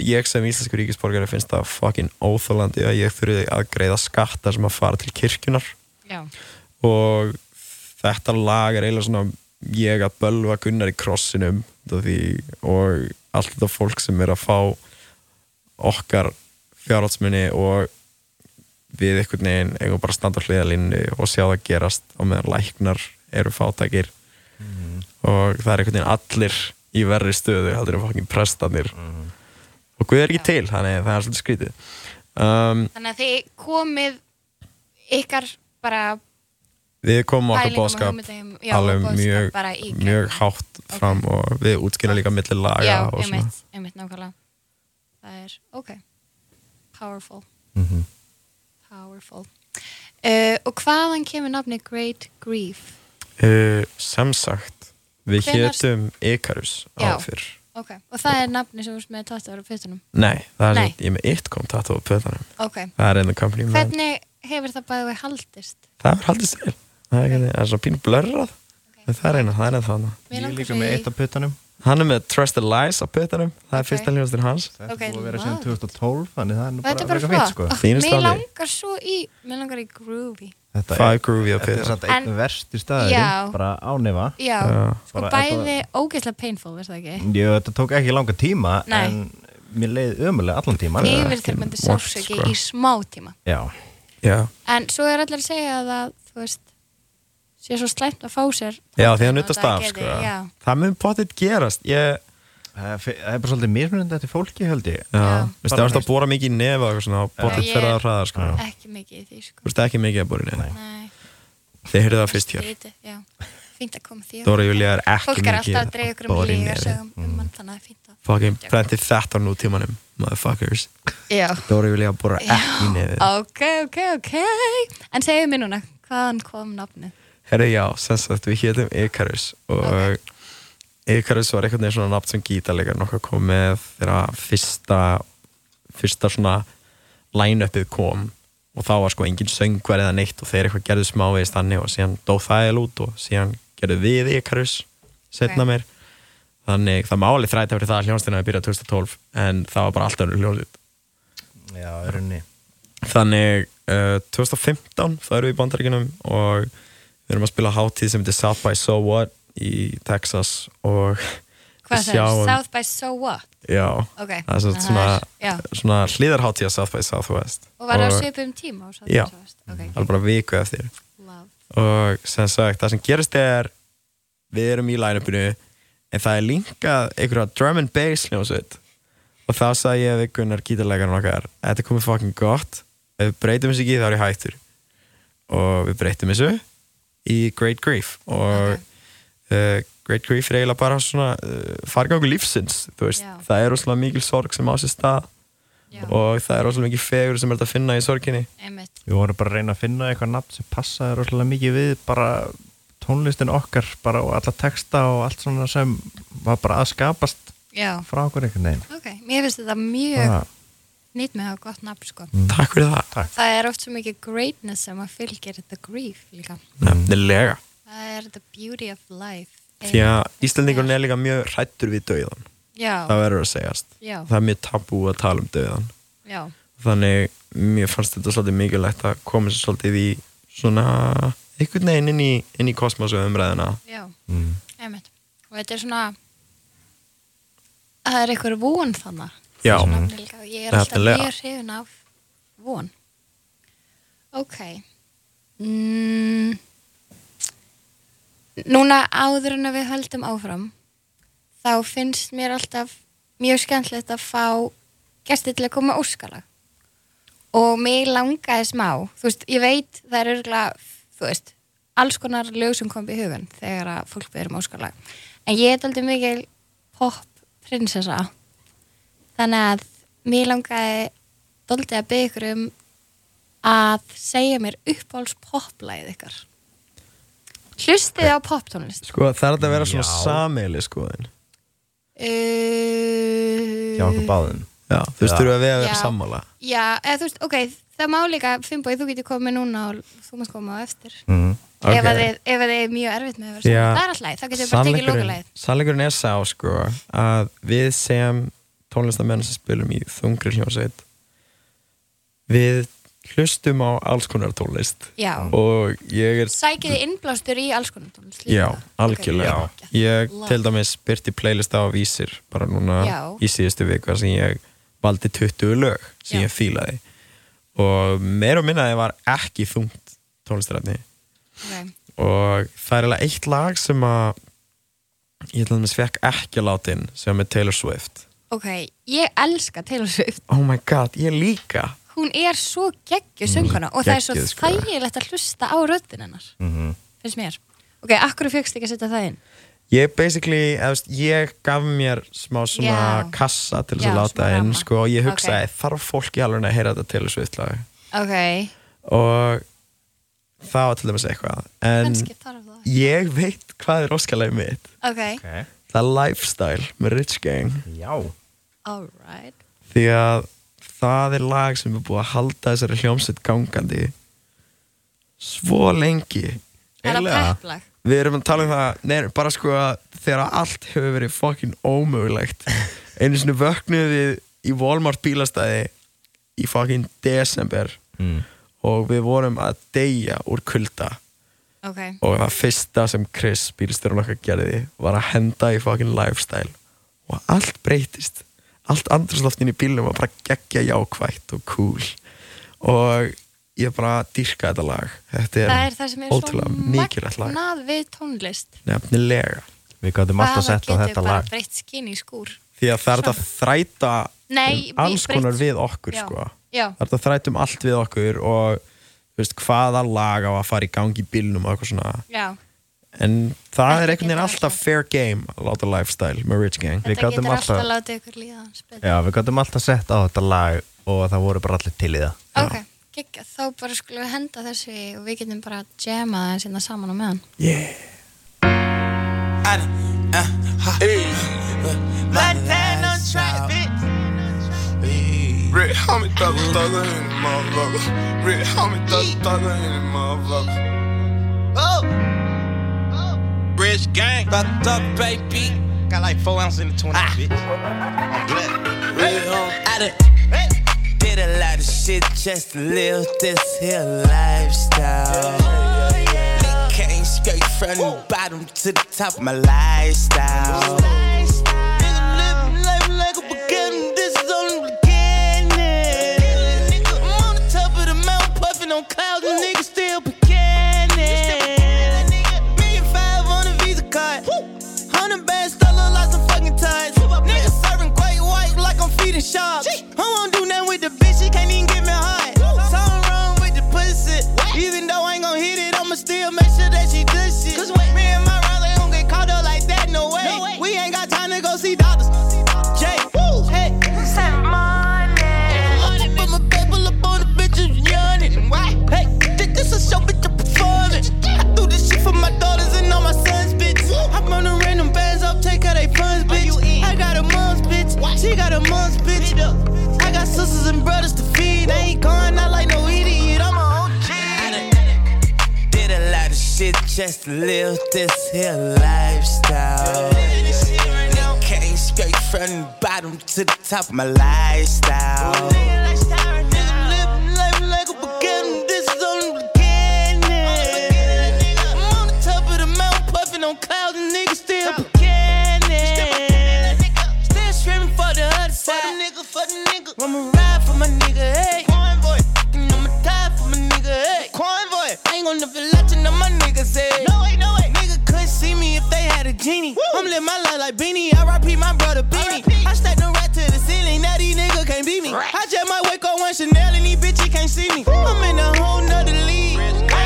C: ég sem íslensku ríkisborgari finnst það fucking óþálandi að ég þurfi að greiða skattar sem að fara til kirkjunar
B: Já,
C: og þetta lag er eiginlega svona ég að bölva Gunnar í krossinum út af því, og allt þetta fólk sem er að fá okkar fjárhaldsmunni og við einhvern veginn eigum bara að standa hliðalínu og sjá það gerast og meðan læknar eru fátækir
D: Mm.
C: og það er einhvern veginn allir í verri stöðu heldur en fokkin prestanir og Guð er ekki til, þannig að það er svolítið skrítið um,
B: þannig að þið komið ykkar bara
C: Við komum okkur
B: Pælingum og
C: bóðskap
B: hugmyndum, já, og
C: alveg
B: boðskap
C: um mjög,
B: bara í gegn.
C: mjög hátt fram og við útskýra líka milli laga
B: já,
C: og svona.
B: einmitt, einmitt nákvæmlega það er, ok powerful
D: Mhm.
B: powerful uh, og hvaðan kemur nafni Great Grief
C: Uh, sem sagt, við
B: Hvenær-
C: hétum Icarus
B: Já.
C: á fyrr.
B: ok, og það er nafni sem þú veist með tattar á fyrtunum
C: Nei, það er
B: Nei.
C: sem ég með eitt kom tattu á pötanum.
B: ok,
C: Það er in the company of men.
B: hvernig hefur það bæðið við haldist
C: Það er haldið stil. Það er, okay. það er svona pínu blörrað. En það er eina, það er eina þannig.
B: Mig
D: Ég er
B: langar
D: líka
B: svo
D: með
B: í-
D: eitt af puttanum
C: Hann er með Trusted Lies á pötanum. Það er
B: Ok.
C: fyrsta hljóðastinn hans.
D: Þetta
B: Ok,
D: er búið að vera síðan
B: vá.
D: 2012 Þannig það er nú
B: þetta
D: bara
B: er bara
D: frekar fínt, sko.
B: flott oh,
C: Fínasta
B: mér
C: lagi.
B: langar svo í mér langar í groovy
D: Þetta er-
C: Five Groovy á
D: Þetta er
C: pötanum.
D: samt einn
B: En-
D: versti
B: Já.
D: staður bara ánefa
B: já,
C: Já.
B: sko
D: Bara-
B: bæði ógeðslega painful, veist það ekki
D: Jú, þetta tók ekki langa tíma
B: Nei.
D: en mér leiði ömulega allan tíma
B: yfirþyrmandi
C: ekki vont,
B: sársöki
C: sko.
B: í smá tíma
D: Já,
C: Já.
B: en svo er allir að segja að það þú veist, sé svo slæmt að fá sér
C: Já, því að nutast
B: það
C: af,
B: geti-
C: sko.
B: já,
C: Það mun potið gerast. Ég...
D: það er fe- það er bara svolítið mismunandi eftir fólki held ég
C: Já,
B: Já.
C: þú veist, það varst að bóra mikið í nefa og eitthvað svona, og bóttið
B: Já, ég-
C: fyrir að hraða, sko.
B: ekki mikið í því
C: Þú
B: sko.
C: veist ekki mikið að bóra í nefa.
B: Nei,
C: Þið heyrðu það fyrst hér.
B: skrítið, já. fínt að koma því
C: Dóra Júlia er ekki
B: fólk
C: mikið
B: er alltaf að dreigja ykkur um
C: bora í
B: líga
C: nefið.
B: sögum um mann þannig að það er fínt að
C: Fucking brendi þetta á nútímanum, motherfuckers.
B: já,
C: Dóra Júlia bóra ekki í nefið.
B: ok, ok, ok en segðu mér núna, hvaðan kom nafnið?
C: Herri, já, sem sagt, við hétum Icarus og Icarus var einhvern veginn svona nafn sem gítarleikar nokkuð kom með þegar fyrsta, fyrsta svona line-upið kom og þá var sko engin söngverð eða neitt og þeir eitthvað gerðu smávegist þannig og síðan dó það eða lút og síðan gerðu við Icarus setna
B: Ok.
C: mér þannig það máli þræta fyrir það að hljónstina við byrja 2012 en það var bara alltaf önnur hljónstina
D: Já, í rauninni
C: Þannig uh, 2015 þá erum við í bandaríkunum og við erum að spila hátíð sem heitir South by So What í Texas og
B: hvað það er,
C: við sjáum-
B: South by So What
C: Já,
B: ok,
C: það er svona,
B: já.
C: svona, svona hlýðarhátíð að South by Southwest
B: og var það á svipum tíma og svo
C: Já.
B: ok,
C: alveg bara viku eftir
B: love
C: og sem sagt, það sem gerist er við erum í line-upinu en það er linkað einhverja drum and bass hljómsveit og þá sagði ég við Gunnar gítarleikarinn okkar þetta er komið fucking gott ef við breytum þessu ekki þá er ég hættur og við breytum þessu í Great Grief og uh, Great Grief er eiginlega bara svona uh, fargangu lífsins þú veist,
B: Já.
C: það er rosalega mikil sorg sem á sér stað
B: Já.
C: og það er rosalega mikil fegur sem er hægt að finna í sorginni
B: einmitt,
D: Við vorum bara að reyna að finna eitthvað nafn sem passaði rosalega mikið við bara tónlistin okkar bara og alla texta og allt svona sem var bara að skapast
B: já
D: frá okkur einhvern veginn
B: Ok, mér finnst þetta mjög
D: Það-
B: nýtt með að hafa gott nafn sko.
C: Takk fyrir það,
D: Takk
B: Það er oft svo mikið greatness sem að fylgir the grief líka.
C: nefnilega
B: Það er the beauty of life.
C: því að Íslandingurinn er líka mjög hrættur við dauðan það
B: Já,
C: verður að segjast
B: Já.
C: það er mjög tabú að tala um dauðan
B: já,
C: þannig mér fannst þetta svolítið mikilvægt að koma sér svolítið í svona einhvern veginn inn í, inn í kosmosu umræðina
B: já,
D: mm.
B: einmitt. Og þetta er svona, það er einhver von þannig.
C: já,
B: Nafni líka og ég er alltaf
C: Nefnilega.
B: mjög hrifin af von. Ok. Mm. Núna áður en að við höldum áfram, þá finnst mér alltaf mjög skemmtilegt að fá gesti til að koma á óskalag og mig langaði smá þú veist, ég veit það er örgulega þú veist, alls konar lög sem kom í hugan þegar að fólk byrjum óskalag en ég er aldrei mikil pop prinsessa þannig að mér langaði doldið að byggja ykkur um að segja mér uppáhalds poplæðið ykkar hlustið á poptónlist
C: Sko það er hægt að vera svona
D: Já.
C: sameili skoðin
D: hjá
B: uh,
D: okkur báðum
C: Já, þú veist,
D: Já.
C: þurfum við að vera
B: Já.
C: sammála
B: já, eða þú veist, ok það má líka, Fimboi, þú getur komið núna og þú mást koma á eftir
D: mm.
C: Ok.
B: ef, að þið, ef að þið er mjög erfitt með að vera
C: Já.
B: saman það er alltaf, leið, þá getur við bara tekið
C: Sannleikurinn-
B: lókulæð
C: Sannleikurinn er sá sko að við sem tónlistamenn sem spilum í þungri hljómsveit við hlustum á alls konar tónlist
B: já,
C: og ég er
B: sækið þið innblástur í alls konar tónlist líka.
C: Já, algjörlega
B: Ok, já.
C: Ég til dæmis byrti playlista á Vísir bara núna
B: Já.
C: í síðustu viku sem ég valdi 20 lög sem
B: Já.
C: ég fílaði og meir og minna það var ekki þungt tónlistræfni
B: Ok.
C: og það er eiginlega eitt lag sem að ég til dæmis fekk ekki látin sem er Taylor Swift
B: ok, ég elska Taylor Swift
C: Oh my god, ég líka
B: hún er svo geggju sönguna og það er svo
C: geggjuð, sko.
B: þægilegt að hlusta á röddin hennar
D: Mm, mhm.
B: finnst mér ok, akkur fegst ekki að setja það inn
C: Ég basically, eða, þú veist, ég gaf mér smá svona
B: Já.
C: kassa til þess
B: Já,
C: að láta
B: smá
C: inn
B: ramma.
C: sko, og ég
B: Ok.
C: hugsaði, þarf fólk í alveg að heyra þetta Taylor Swift lag
B: ok,
C: og það var til dæmis eitthvað en
B: kannski þarf það
C: ég veit hvað er óskalagi mitt
B: ok,
D: okay.
C: það er Lifestyle með Rich Gang
D: já,
B: alright
C: því að það er lag sem er búið að halda þessari hljómsveit gangandi svo lengi
B: það er að
D: Eiginlega.
B: peplag
C: við erum að tala um það nei, bara sko að þegar allt hefur verið fokkin ómögulegt einu sinni vöknuðum við í Walmart bílastæði í fokkin desember
D: Mm.
C: og við vorum að deyja úr kulda
B: ok,
C: og það fyrsta sem Chris bílstjórun okkar gerði var að henda í fucking lifestyle og allt breytist allt andrúsloftin í bílnum var bara geggja jákvætt og cool og ég bara dýrka þetta lag þetta er,
B: það er það sem er svo
C: ótrúlega mikilvægt lag
B: magnað við tónlist
C: nefnilega
D: við gætum alltaf
B: það
D: sett á
B: getur
D: þetta
B: bara
D: lag
B: breytt skinn í skúr
C: því að það er þetta að þræta
B: Nei,
C: um alls
B: breytt-
C: konar við okkur
B: Já.
C: sko.
B: Já.
C: það er þetta að þræta um allt við okkur og þú veist, hvaða lag á að fara í gangi í bílnum og eitthvað svona
B: já,
C: en það
B: Þetta
C: er einhvern veginn
B: getur
C: alltaf
B: alltaf.
C: fair game að láta lifestyle með Rich Gang
D: Við
B: þetta getur
D: gátum
B: alltaf
D: alltaf-
B: að láta ykkur líða hans betur
D: já, við gætum alltaf sett á þetta lag og það voru bara allir til í það
B: ok, geggja, þá bara skulum við henda þessu í og við getum bara jamað það sinna hérna saman á meðan
C: yeah.
E: Rick, how many thugs thuggin' in the motherfucker? Rick, how many thugs thuggin' in the motherfucker?
F: Rich gang.
G: Fucked up, baby.
F: Got like four ounces in the 20,
G: Ah.
F: bitch.
G: I done did a lot of shit just to live this here lifestyle. It came straight from the bottom to the top of my lifestyle. Nigga, live life like a beginning, this is only beginning. Nigga, I'm on the top of the mountain, puffing on clouds, and nigga still beginning. Million five on a Visa card. Hundred bands, still look like some fucking ties. Nigga serving great white like I'm feeding sharks. I won't do nothing with the bitch, she can't even get me high. Something wrong with the pussy. Even though I ain't gon' hit it, I'ma still make sure that she does shit. Me and my Riley don't get caught up like that, no way. We ain't got time to go see doctors. Jay, woo, hey. I put my people up on the bitches yawning. Why? Hey, th- this is show bitch I'm performing. I do this shit for my daughters and all my sons, bitch. I run the random bands up, take out they funds, bitch. I got a mom's bitch. She got a mom's bitch. I got sisters and brothers to feed. I ain't going out like no idiot. I'm a OG. Did a lot of shit just to live this here lifestyle. It Came straight from the bottom to the top of my lifestyle. Living life like a beginning, this is only beginning. I'm on the top of the mountain, puffing on clouds, and niggas still beginning. Still screaming for the other side. For the nigga, I'ma ride for my nigga, hey. And I'ma die for my nigga, hey. I ain't gonna be latching on my niggas, hey. No way, no way. Nigga couldn't see me if they had a genie. I'm living live my life like Beanie. R.I.P. my brother Beanie. I stack them right to the ceiling. Now these niggas can't beat me. I just might wake up one Chanel and these bitches can't see me. I'm in a whole nother league. I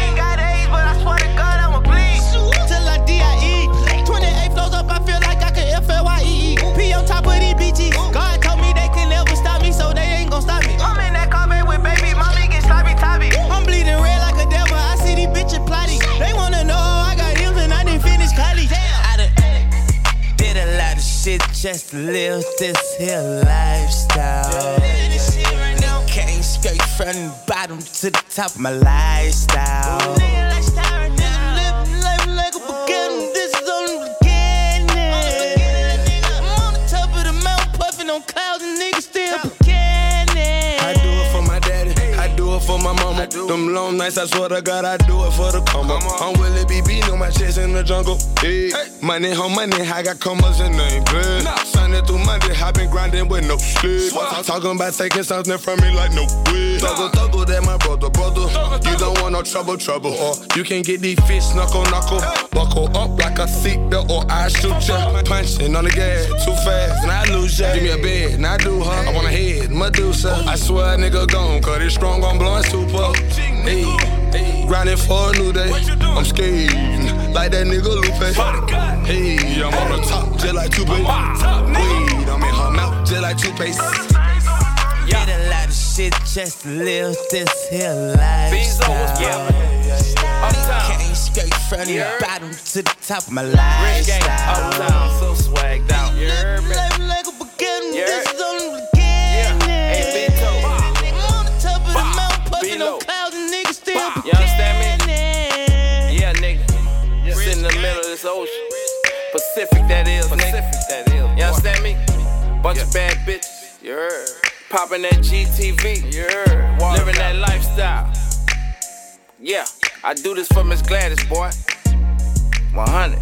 G: ain't got AIDS, but I swear to God I'ma bleed. Till I D.I.E. 28 flows up, I feel like I could F.L.Y.E. E P on top of these bitches. God told me they can never stop me, so they ain't gon' stop me. I'm in that comment with baby mommy, get sloppy toppy. I'm bleeding red like a devil. I see these bitches plotting. They wanna know how I got M's and I didn't finish college. I done did a lot of shit just to live this here lifestyle. Came straight from the bottom to the top of my lifestyle. Living life like a beginning, this is only beginning. I'm on the top of the mountain, puffing on clouds, and niggas still beginning.
E: I do it for my daddy. I do it for my mama. Them long nights, I swear to God, I do it for the combo. I'm Willie B beating on my chest in the jungle. Hey. Money on money, I got commas and they ain't bad. Sunday through Monday, i been grinding with no sleep. Talk- Talking about taking something from me like no weed. Thuggle, thuggle, that my brother, brother. You don't want no trouble, trouble. Or you can get these fists knuckle, knuckle. Buckle up like a seatbelt or I shoot ya. Punching on the gas, too fast, and I lose ya. Give me a bed, and I do her. I wanna head, Medusa. I swear a nigga gone, cause it's strong, I'm blowing super. Hey, grinding for a new day. I'm skating like that nigga Lupe. Hey, I'm on the top, just like Tupac. Weed, I'm in her mouth, just like Tupac.
G: Did a lot of shit just to live this here lifestyle. Came straight from the bottom to the top of my lifestyle.
H: so swagged out.
G: Life like a beginning, this is only beginning. I'm on the top of the mountain, puffing on clouds, and niggas still
H: You understand
G: beginning.
H: Yeah, nigga. Sit in the middle of this ocean. Pacific, that is, nigga. that is. You understand me? Bunch of bad bitches. Yeah. Popping that GTV. Yeah. Living that lifestyle. Yeah. I do this for Miss Gladys, boy. 100.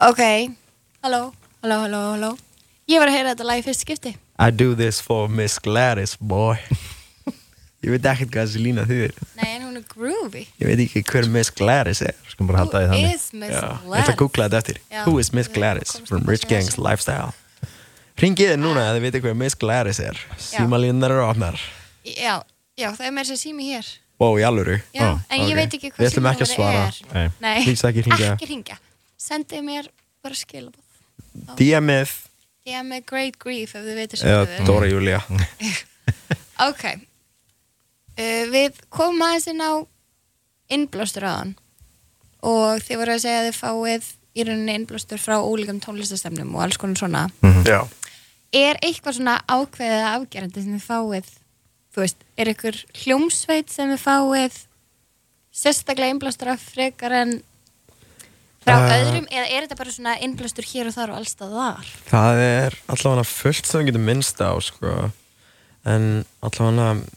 B: Ok, halló, halló, halló, halló Ég var að heyra þetta lag í fyrst skipti
C: I do this for Miss Gladys, boy Ég veit ekkert hvað þessi lína þýðir
B: Nei, en hún er groovy
C: Ég veit ekki hver Miss Gladys er
D: Skum bara halda því
B: Who
D: þannig
B: is Miss
C: Já, Ég ætla að
B: Gladys?
C: googla þetta eftir
B: Já.
C: Who is Miss
B: Við
C: Gladys
B: komumst
C: from
B: ekki
C: Rich
B: að
C: Gang's Lifestyle Ringið þið núna að þið veitir hver Miss Gladys er Símalínar eru opnar
B: Já, já, það er með þess að sími hér
C: Ó, í alvöru
B: Já,
D: Ó,
B: en ég
C: ok.
B: veit ekki
C: Við
B: hvað
C: ætlum ekki að
B: símanúmerið
D: svara.
B: er. Nei,
C: Please ekki hringja.
B: Ekki hringja. Sendið mér bara skilabóð.
C: DMF
B: Ég er með great grief ef þið veitir sem
C: eða
B: þið er.
C: Dóra Júlia
B: Ok. Uh, við komum aðeins inn á innblástur aðan og þið voru að segja að þið fáið í rauninni innblástur frá ólíkum tónlistastemnum og alls konar svona.
C: Já
B: Er eitthvað svona ákveðið eða afgerandi sem þið fáið? Þú veist, er eitthvað hljómsveit sem þið fáið sérstaklega innblástur af frekar en frá öðrum eða er þetta bara svona innblástur hér og þar og allstað þar?
C: Það er allavega fullt sem við getum minnst á sko. en allavega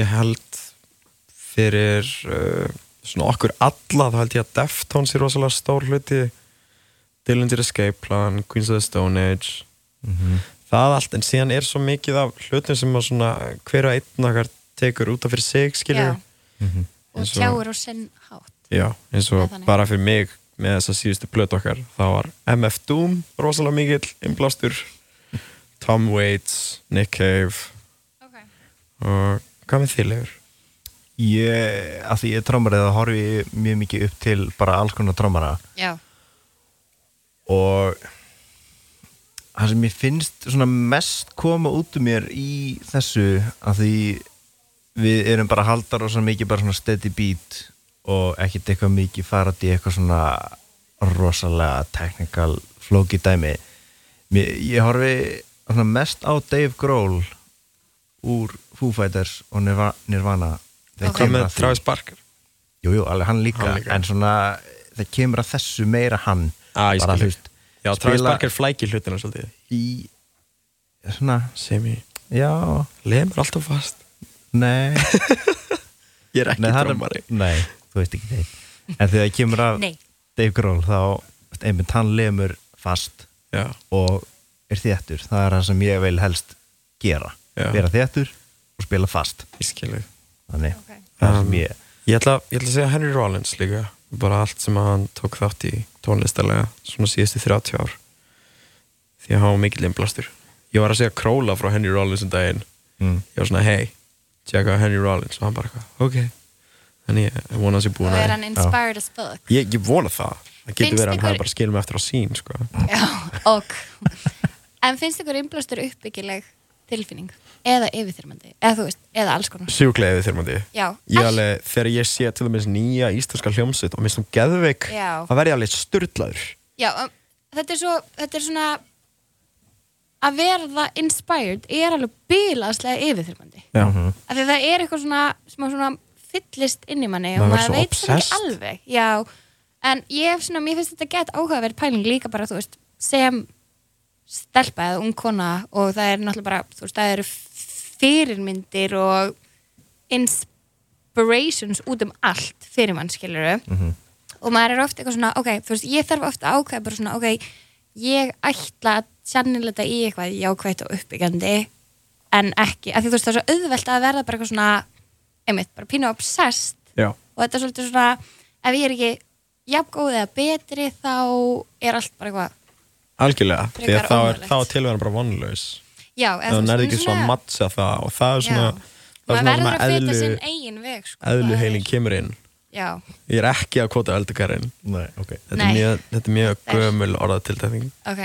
C: ég held fyrir uh, svona okkur alla þá held ég að Deftones er rosalega stór hluti Dillinger Escape Plan Queens of the Stone Age Mhm. það allt, en síðan er svo mikið af hlutum sem að svona hver og einn okkar tekur út af fyrir sig
B: Já.
C: skilur
B: Og
C: Mhm. Eins og-
B: tjáur og sinn hátt.
C: Já, eins
B: Það
C: og
B: er þannig.
C: bara fyrir mig með þess að síðustu blöt okkar þá var MF Doom rosalega mikill innblástur Tom Waits, Nick Cave
B: Okay.
C: og hvað með þið lefur?
D: Ég, að því ég er trommari þá horfi ég mjög mikið upp til bara alls konar trommara
B: Já.
D: og það sem ég finnst svona mest koma út um mér í þessu að því við erum bara haldar og svo mikið bara svona steady beat og ekkert eitthvað mikið farað í eitthvað svona rosalega technical flóki dæmi mér, ég horfi svona mest á Dave Grohl úr Foo Fighters og Nirva- Nirvana Þegar
C: Hvað
D: kemur
C: með
D: að því-
C: Travis Barker?
D: Jú, jú, alveg hann líka,
C: Hann líka.
D: en svona það kemur að þessu meira hann
C: Ah, ég
D: bara
C: skil.
D: þú veist
C: Já, Travis Barker flækir hlutina svolítið
D: í svona,
C: sem ég
D: já,
C: lemur alltaf fast
D: nei
C: Ég er ekki
D: nei, það er-
C: drömmari
D: nei, þú veist ekki þeim en þegar það kemur að
B: Nei.
D: Dave Grohl þá, einmitt hann lemur fast
C: Já,
D: og er þéttur það er það sem ég vil helst gera
C: Já.
D: vera þéttur og spila fast
C: ég skilu
D: þannig,
B: Ok.
D: það er sem ég
C: Ég ætla, ég ætla að segja Henry Rollins líka bara allt sem hann tók þátt í tónlistalega svona síðustu 30 ár því að hann var mikill innblastur ég var að segja króla frá Henry Rollins um daginn
D: Mm.
C: ég var svona hey, tjekka Henry Rollins og hann bara eitthvað, ok þannig ég ég vona að sé búin
B: og
C: að
B: er hann inspired as fuck
C: ég, ég vona það, það
B: Finnst
C: getur verið að hann
B: ykkur-
C: hafi bara skilum eftir á sín sko.
B: Já, ok En finnst ykkur innblástur uppbyggileg tilfinning? Eða yfirþyrmandi? Eða þú veist, eða alls konar
C: sjúklega yfir þyrmandi
B: Já,
C: ég
B: allt.
C: alveg, þegar ég sé til dæmis nýja íslenska hljómsveit og minnst um geðveik
B: Já.
C: það verði alveg styrlaður
B: Já, um, þetta er svo þetta er svona að verða inspired er alveg bílaslega yfirþyrmandi
C: Já. -hmm.
B: af því að það er eitthvað svona smá svona fyllist inn í manni og
C: Maður
B: maður
C: verður svo
B: veit það ekki
C: obsessed.
B: alveg Já, en ég hef svona, mér finnst þetta gett áhugaverð pæling líka bara, þú veist, sem stelpa eða ung kona og það er náttúrulega bara, þú veist, það eru fyrirmyndir og inspirations út um allt fyrir mann, skilur
C: Mhm.
B: og maður er ofta eitthvað svona, ok, þú veist, ég þarf ofta að ákveða bara svona, ok, ég ætla að sannilita í eitthvað jákvætt og uppbyggjandi en ekki, af því þú veist, það er svo auðvelt að verða bara eitthvað svona, einmitt, bara pínu obsessed
C: Já.
B: og þetta er svolítið svona ef ég er ekki jafn góð eða betri þá er allt bara eitthvað
C: algjörlega, því
B: Frekar
C: að þá er,
B: ómögulegt.
C: þá er tilvæðan bara vonlaus
B: já,
C: það
B: þú veist,
C: nærði
B: hún
C: ekki svona að matsa það og það er
B: Já.
C: svona, það er
B: maður verður að
C: svona sem
B: feta
C: eðlu,
B: sinn eigin veg sko, það
C: eðlu
B: er-
C: heilin kemur inn
B: já,
C: ég er ekki að kvota eldakarinn
D: Nei, ok
C: þetta,
B: Nei.
C: er mjög- þetta er mjög
B: Þetta er-
C: gömul orðatiltækning
B: ok,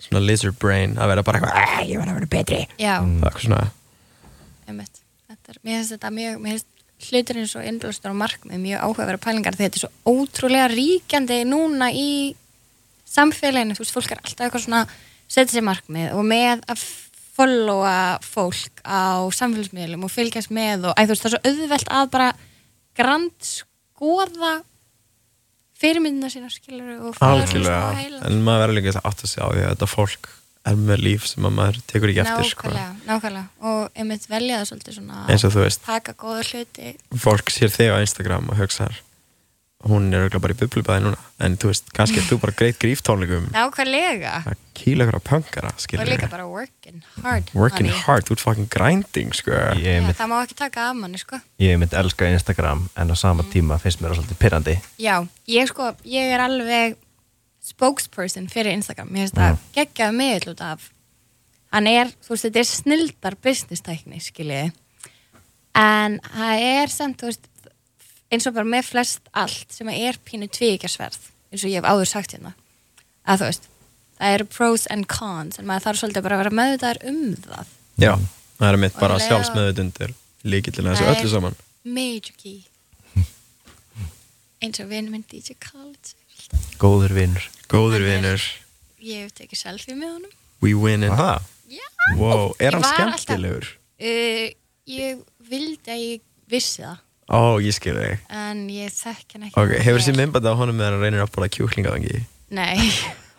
C: svona lizard brain, að vera bara eitthvað "Ah, ég verð að vera betri
B: já,
C: það er eitthvað svona,
B: einmitt þetta er, mér finnst þetta mjög, mér finnst hluturinn svo innblástur og markmið mjög áhugaverða pælingar því þetta er svo ótrúlega ríkjandi núna í samfélaginu, þú veist, fólk er alltaf eitthvað svona setja sér markmið og með að followa fólk á samfélagsmiðlum og fylgjast með og æ, þú veist, það er svo auðvelt að bara grand skoða fyrirmyndina sína skilur og fara svona smá á
C: algjörlega
B: heilann.
C: en maður verður líka að átta sig á því að þetta fólk er með líf sem að maður tekur ekki eftir sko.
B: nákvæmlega, nákvæmlega og einmitt velja það svolítið svona
C: eins og þú veist,
B: taka góða hluti
C: fólk sér þig á Instagram og hugsar hún er örugglega bara í bublubæði núna en þú veist, kannski er þú bara greitt gríftónleikum
B: nákvæmlega
C: að kýla ykkur á pöngara
B: og
C: skilur
B: líka bara working hard
C: working
B: honey.
C: hard, þú ert fucking grinding sko.
D: Ég
B: Já,
D: einmitt,
B: það má ekki taka af manni sko
D: ég einmitt elska Instagram en á
B: Mm.
D: sama tíma finnst mér það svolítið pirrandi
B: Já, ég sko, ég er alveg spokesperson fyrir Instagram Mér finnst það geggjað mig út af Hann er, þú veist, þetta er snildar business tækni, skiljiði En það er samt, þú veist eins og bara með flest allt sem er pínu tvíkjarsverð eins og ég hef áður sagt hérna að þú veist, það eru pros and cons en maður þarf svolítið bara að vera meðvitaður um það
C: já, það er mitt bara
B: Og lega-
C: sjálfsmeðutundir líkillin að þessu
B: Nei.
C: öllu saman
B: Major key eins og vinn minn DJ Khaled
D: góður vinnur
C: góður vinnur,
B: ég hef tekið selfie með honum
C: we winning
D: Aha.
B: Já.
C: wow,
B: Ég
C: er hann
B: var alltaf-
C: skemmtilegur?
B: Uh, ég vildi að ég vissi það
C: ó, ég skil þig
B: en ég þekk hann ekki
C: ok,
B: nógu
C: hefur þessi
B: vel.
C: mymbandi á honum meðan hann reynir að bóla kjúklingaðangi
B: Nei,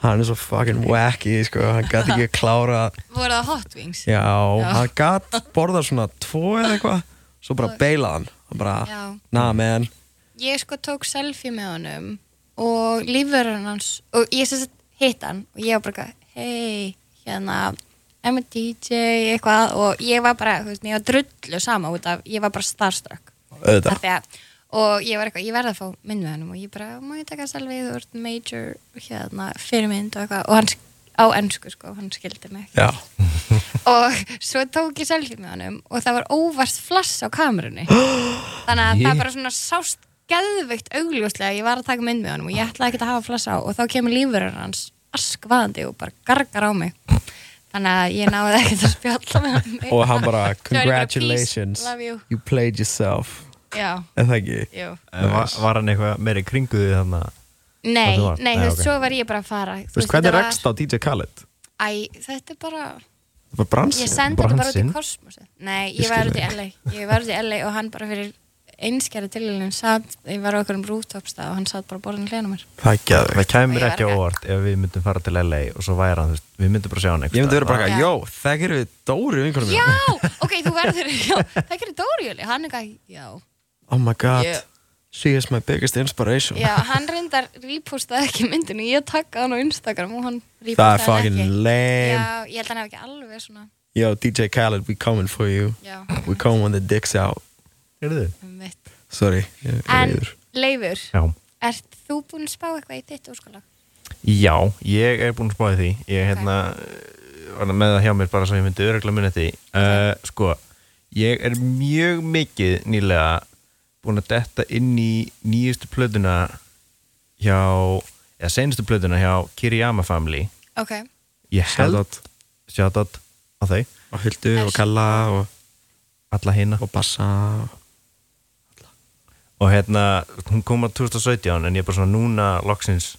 C: hann er svo fucking wacky sko. hann gæti ekki að klára
B: voru það hot wings?
C: já, hann gæti borða svona tvo eða eitthvað svo bara beilað hann hann bara,
B: Já.
C: nah man
B: Ég sko tók selfie með honum og lífverðan hans og ég sem sagt hitt hann og ég var bara hei, hérna I'm a DJ, eitthvað og ég var bara, þú veist, ég var drullu sama út af ég var bara starstruck Af
C: auðvitað,
B: því að, og ég var eitthvað, ég verði að fá mynd með hennum og ég bara, má ég taka selfie þú ert major, hérna, fyrirmynd og eitthvað, og hann sk- á ennsku sko hann skildi mig
C: já
B: og svo tók ég selfie með honum og það var óvart flass á kamerunni þannig að það bara svona sást geðveikt augljóslega að ég var að taka mynd með honum og ég ætlaði ekki að hafa flass á og þá kemur lífurinn hans askvaðandi og bara gargar á mig þannig að ég náði ekkert að spjalla með honum meira.
C: og hann bara,
B: Svo er ég bara, "Peace,
C: congratulations
B: love you."
C: you played yourself
B: Já,
C: er það ekki?
B: jú
D: var, var hann eitthvað meiri kringuði þannig að
B: Nei,
D: Það var-
B: nei,
D: nei,
B: þú veist,
D: ok.
B: svo var ég bara að fara Þú
C: Þú veist, hvernig
B: þetta var-
C: rekst á DJ Khaled?
B: Æ, þetta er bara
C: Það var bransin
B: Ég sendi þetta bara út í
D: bransinn.
B: kosmosi Nei,
C: Ég
B: ég var
C: skil
B: út í
C: þig.
B: LA Ég var út í LA og hann bara fyrir einskjæri tilhjulin satt, ég var á okkur um rúftopstað og hann satt bara borðin hlæðinu mér
C: Það er ekki að
D: það kæmur
B: Ég var
D: ekki á
B: ekki-
D: óvart ef við myndum fara til LA og svo væri hann, þú veist, við myndum bara sjá hann
C: Ég myndi vera bara,
B: Já.
C: eitthvað, jó, þekkir við Dóri vinkunum
B: Já, ok, þú verður já, Það gerir Dóriöli, hann er gæ Já,
C: Oh my god,
B: Yeah.
C: she is my biggest inspiration
B: já hann reyndar repostaði ekki myndinu, ég takkaði hann á Instagram og hann
C: Það er
B: repostaði hann
C: fucking
B: ekki
C: lame
B: Já, ég held að hann hef ekki alveg svona
C: Yo, DJ Khaled, we coming for you
B: Já,
C: We coming when the dick's out
D: Heyrðu,
B: um mitt
C: Sorry, ég er
I: En
C: reyður
I: Leifur,
D: Já.
I: ert þú búin að spá eitthvað í þitt úrskóla?
D: Já, ég er búin að spáði því Ég okay. hérna var með það hjá mér bara svo ég myndi öruglega munið því uh, Sko, ég er mjög mikið nýlega búin að detta inn í nýjustu plötuna hjá eða seinustu plötuna hjá Kiriyama Family
I: Ok,
D: Ég held
C: Shoutout.
D: Shoutout á þau
C: Og Huldu og Kalla og,
D: Alla hina
C: og Bassa og-
D: og hérna, hún kom á 2017 en ég er bara svona núna loksins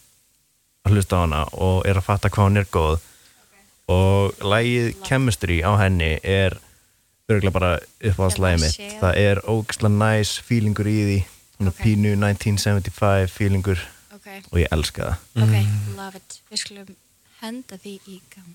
D: að hlusta á hana og er að fatta hvað hún er góð og lægið chemistry á henni er örgulega bara uppáðslægið
I: Ég
D: mitt
I: sé það.
D: það er ógislega næs feelingur í því svona
I: Ok.
D: pínu 1975 feelingur
I: ok,
D: og ég elska það
I: ok, love it Við skulum henda því í gang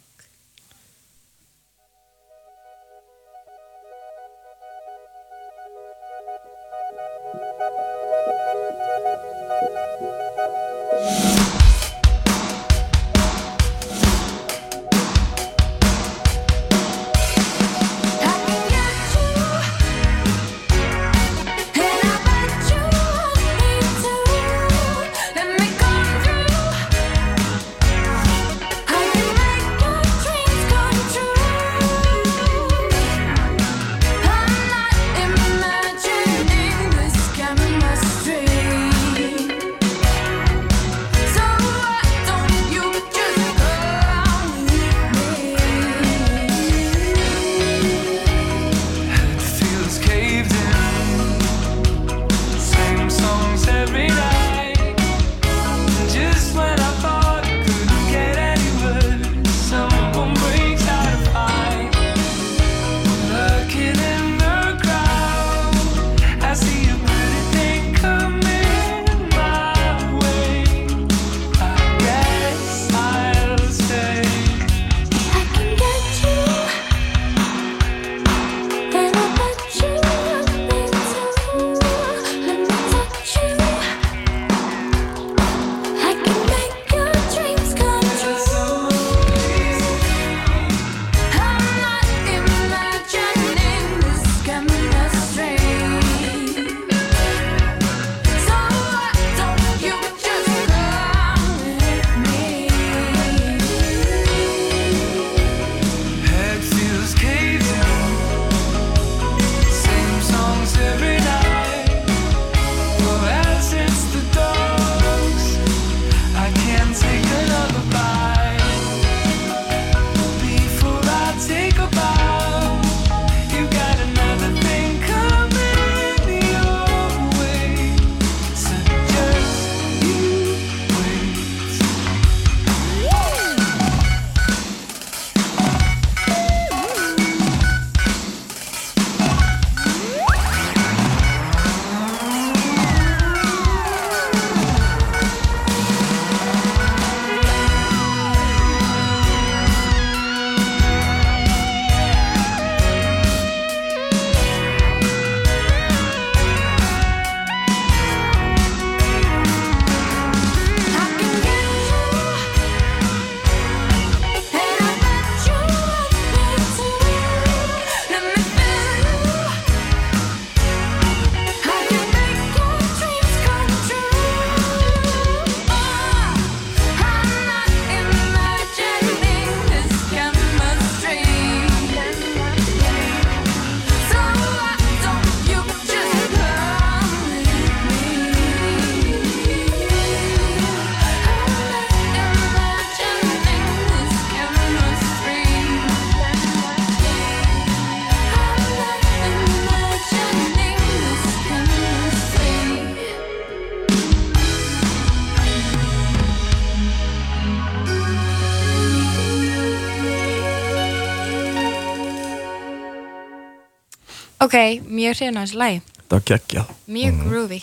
I: Ok, mjög hrifin á þessu lagi
C: Þetta var geggjað
I: Mjög groovy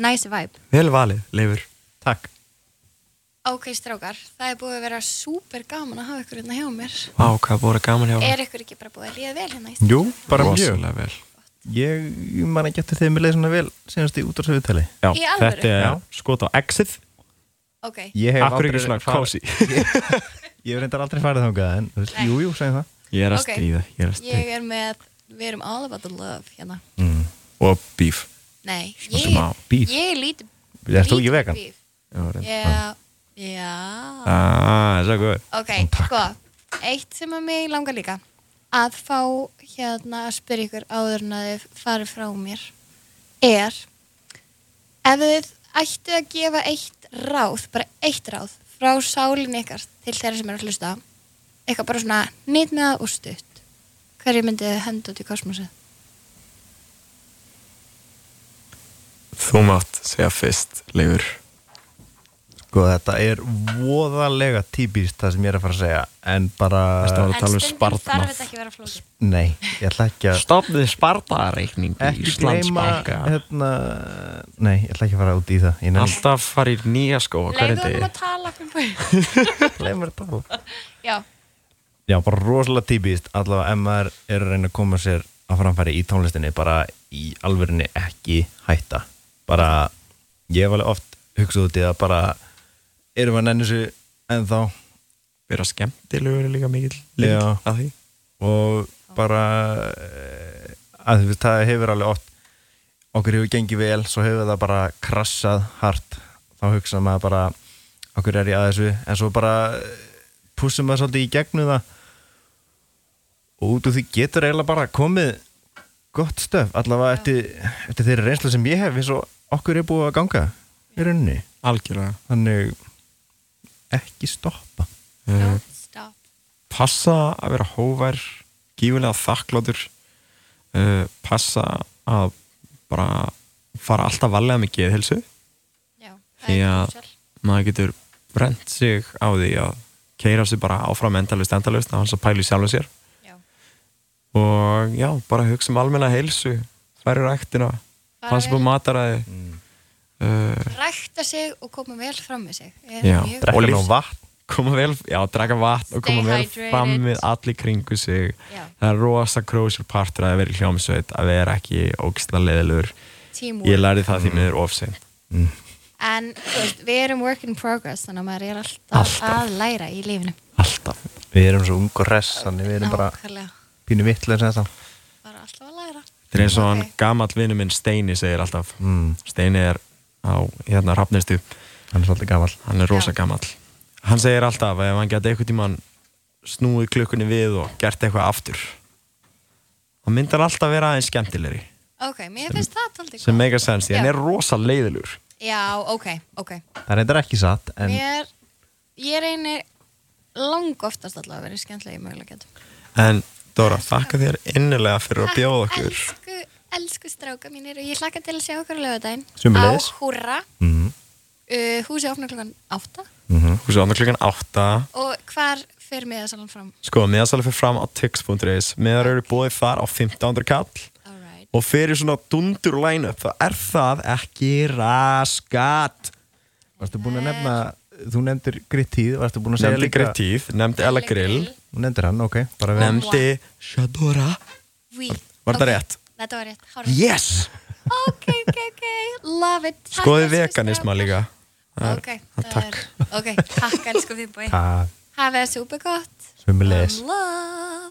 I: Nice vibe
C: Vel valið, Leifur
D: Takk
I: Ok, strákar, það er búið að vera super gaman að hafa ykkur hérna hjá mér
C: Vá, hvað voru gaman hjá
I: Er ykkur ekki bara búið að líða vel hérna í
D: Jú, bara mjög
C: Rosalega vel
D: Ég, ég man ekki eftir þegar mér leið svona vel senast í útvarsöfutali
C: Já,
I: Í alvöru?
C: þetta er
D: Já.
C: skot á exit
I: Ok,
D: Ég hef
C: Akkur ekki
D: aldrei
C: svona
D: farið-
C: cozy
D: Ég hef reyndar aldrei farið þangað en, þú veist, jú, jú, segjum það
C: Ég er að
I: Ok.
C: stríða, ég er að stríða
I: ég er með Við erum all about the love hérna
C: Mm. Og beef
B: Nei,
D: smá beef.
B: ég lítið
D: Ert þú ekki vegan?
B: Já, já
D: Ah, það er góð
B: Ok,
D: Mm, takk.
B: sko, eitt sem að mig langar líka að fá hérna að spyrja ykkur áður en að þið farið frá mér er ef þið ættu að gefa eitt ráð, bara eitt ráð frá sálinni ykkar til þeirra sem eru að hlusta eitthvað bara svona nýtnað og stutt hverju myndið þið henda út í kosmosið?
C: Þú mátt segja fyrst, Leifur
D: Sko þetta er voðalega típist það sem ég er að fara að segja en bara,
J: Þetta var- að tala um
B: en stundum
J: sparnað.
B: þarf þetta ekki að vera flókið
D: nei, ég ætla ekki að
C: Stopnið spartareikning í
D: ekki gleyma
C: Íslandsbanka
D: hérna, nei, ég ætla ekki að fara út í það ég nefnir
C: Alltaf farið nýja skó á hverjum
B: leiðu okkur
C: degi
B: að tala fyrir
D: gleyma þetta
B: já,
D: já, bara rosalega típist allavega ef maður er að reyna að koma sér að framfæri í tónlistinni bara í alvörinni ekki hætta bara, ég hef alveg oft hugsað út í það bara erum við að nenni þessu en þá
C: Verða skemmtilegur er líka mikill
D: Já.
C: lill að því
D: og bara eh, að því það hefur alveg oft okkur hefur gengið vel svo hefur það bara krassað hart þá hugsa maður bara okkur er ég að þessu en svo bara pussum maður svolítið í gegnum það og út úr því getur eiginlega bara komið gott stöf allavega eftir, eftir þeirri reynslu sem ég hef eins og okkur er búið að ganga í rauninni
C: Algjörlega
D: þannig ekki stoppa
C: Eh,
B: don't stop
C: Passa að vera hóvær gífulega þakkláttur uh, Passa að bara fara alltaf valega með geðhelsu
B: já, það
C: því
B: er
C: að
B: kúsel.
C: maður getur brent sig á því að keira sig bara áfram endalust endalust á hans að pæli sjálfum sér
B: Já.
C: og já, bara hugsa um almenna heilsu færi ræktina,
B: Fara
C: passa
B: vel.
C: búið mataræði
D: Mm.
C: uh,
B: rækta sig og koma vel fram með sig er
C: Já.
B: mjög,
C: Og
D: drekka nú
C: líf-
D: vatn
C: koma vel, já, draka vatn og koma vel
B: hydrated.
C: fram við allir kringu sig
B: Já.
C: það er rosa krósir partur að vera í hljómsveit að vera ekki ógstla leðilur ég
B: teamwork
C: lærði
D: Mm.
C: það því miður ofsinn
B: en þú veist, við erum work in progress þannig að maður er alltaf, að læra í lífinu
C: alltaf,
D: Við erum svo ung og hress, þannig við erum bara
B: nákvæmlega,
D: pínu vittlega sem þetta.
B: bara alltaf að læra
C: þetta er eins og hann
B: Ok.
C: gamall vinnu minn Steini segir alltaf
D: Mm.
C: Steini er á hérna rafnistu
D: Hann er svolítið gammal.
C: hann er rosa
B: Já.
C: gamall hann segir alltaf að ef hann geti eitthvað tímann snúið klukkunni við og gert eitthvað aftur þá myndar hann alltaf vera aðeins skemmtilegri
B: ok, mér finnst það tóldi
C: sem make a sense, því hann
B: Já.
C: er rosa leiðilegur
B: já, ok, ok
D: Það reyndar ekki satt, en
B: mér, ég reynir lang oftast alltaf að vera skemmtilega ég mögulega getur
C: en Dóra, þakka þér innilega fyrir að bjóða okkur
B: Elsku, elsku stráka mínir og ég hlakka til að sjá okkur á lögadaginn
D: Sömuleiðis.
B: Á Húra
D: Mhm.
B: uh, Húsi opnar klokkan átta
C: húsið andur klukkan 8
B: Og hvar fer miðasalan fram?
C: sko, meðasali fyrir fram á tix.is meðar eru bóðið þar á 1500 kall
B: Alright
C: og fyrir svona dundur line-up þá er það ekki raskat
D: varstu búin að nefna, þú nefndir Grittíð, varstu búin að segja
C: nefndi Grettíð, nefndi Ella Grill
D: Þú nefndir hann, ok, bara við.
C: nefndi Shadora
B: We,
C: Var þetta rétt?
B: Þetta var rétt Hárið.
C: Yes!
B: Ok, ok, ok Love it Takk,
C: Skoði
B: elsku
C: veganisma
B: strákar.
C: líka
B: Ok, takk Ok, takk elsku þið búi
D: Það,
B: Hafið það super gott
D: sömulegis.
B: Love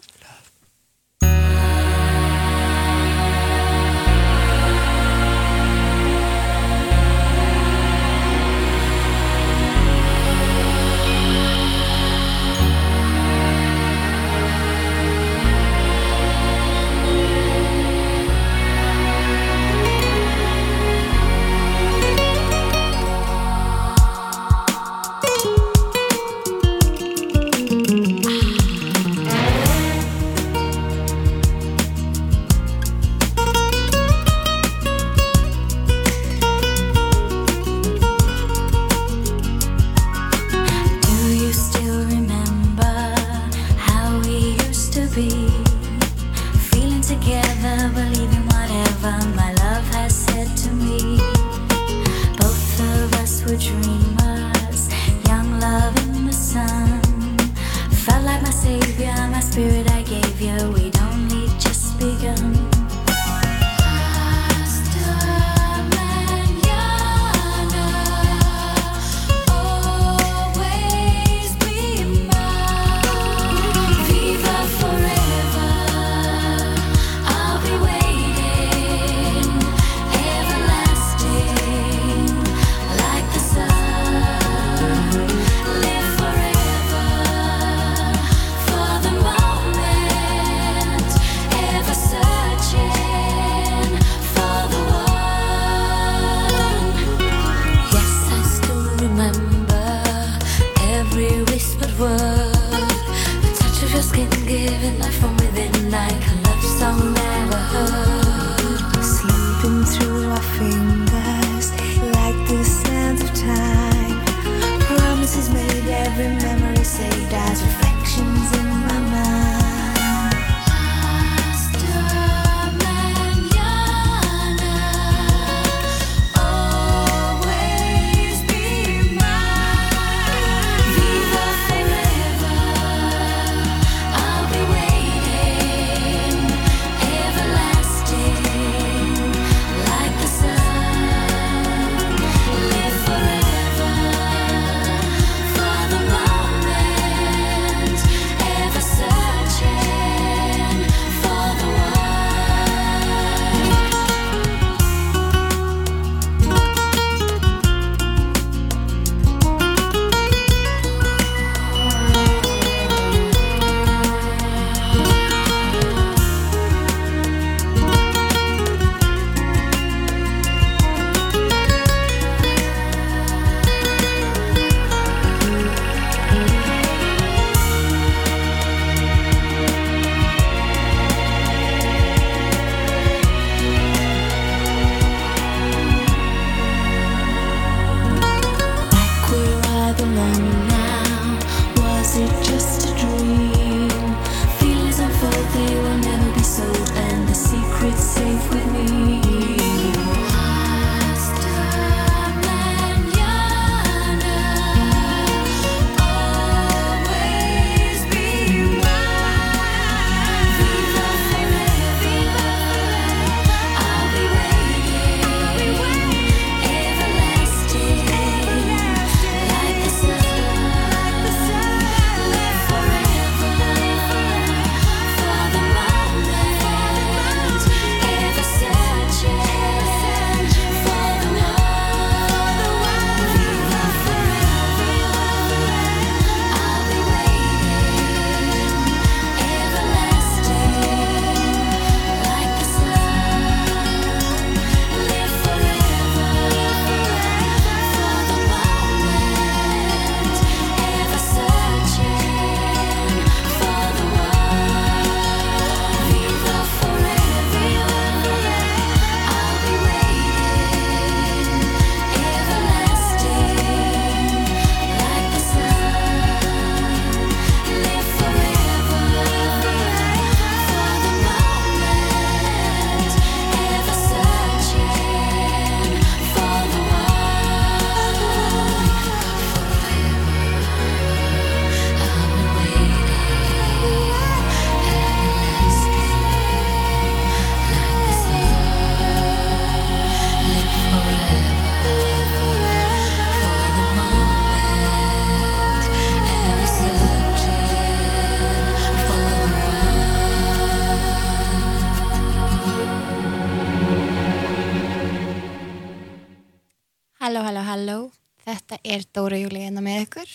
B: Halló, halló, halló. Þetta er Dóra Júlíina með ykkur.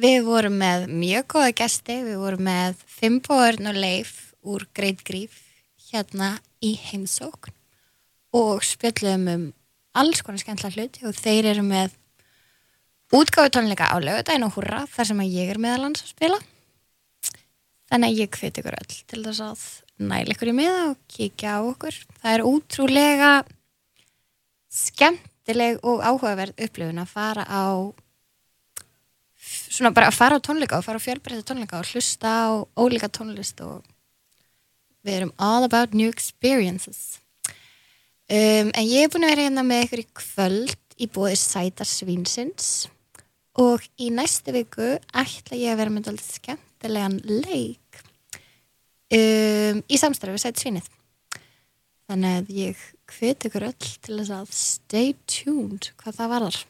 B: Við vorum með mjög góða gesti, við vorum með Fimboðurn og Leif úr Great Grief hérna í heimsókn og spjöllum um alls konar skemmtla hluti og þeir eru með útgáfu tónleika á laugardaginn og húrra þar sem að ég er meðalans að spila. Þannig að ég hviti ykkur öll til þess að næla ykkur í miða og kíkja á okkur. Það er útrúlega skemmtileg og áhugaverð upplifun að fara á svona bara að fara á tónleika og fara á fjölbreyta tónleika og hlusta á ólíka tónlist og við erum all about new experiences um, en ég er búin að vera hérna með ykkur í kvöld í bóði Sætar Svínsins og í næstu viku ætla ég að vera með dálítið skemmtilegan leik um, í samstarfi við Sætar Svínið Þannig að ég hveti ykkur öll til þess að stay tuned hvað það varðar.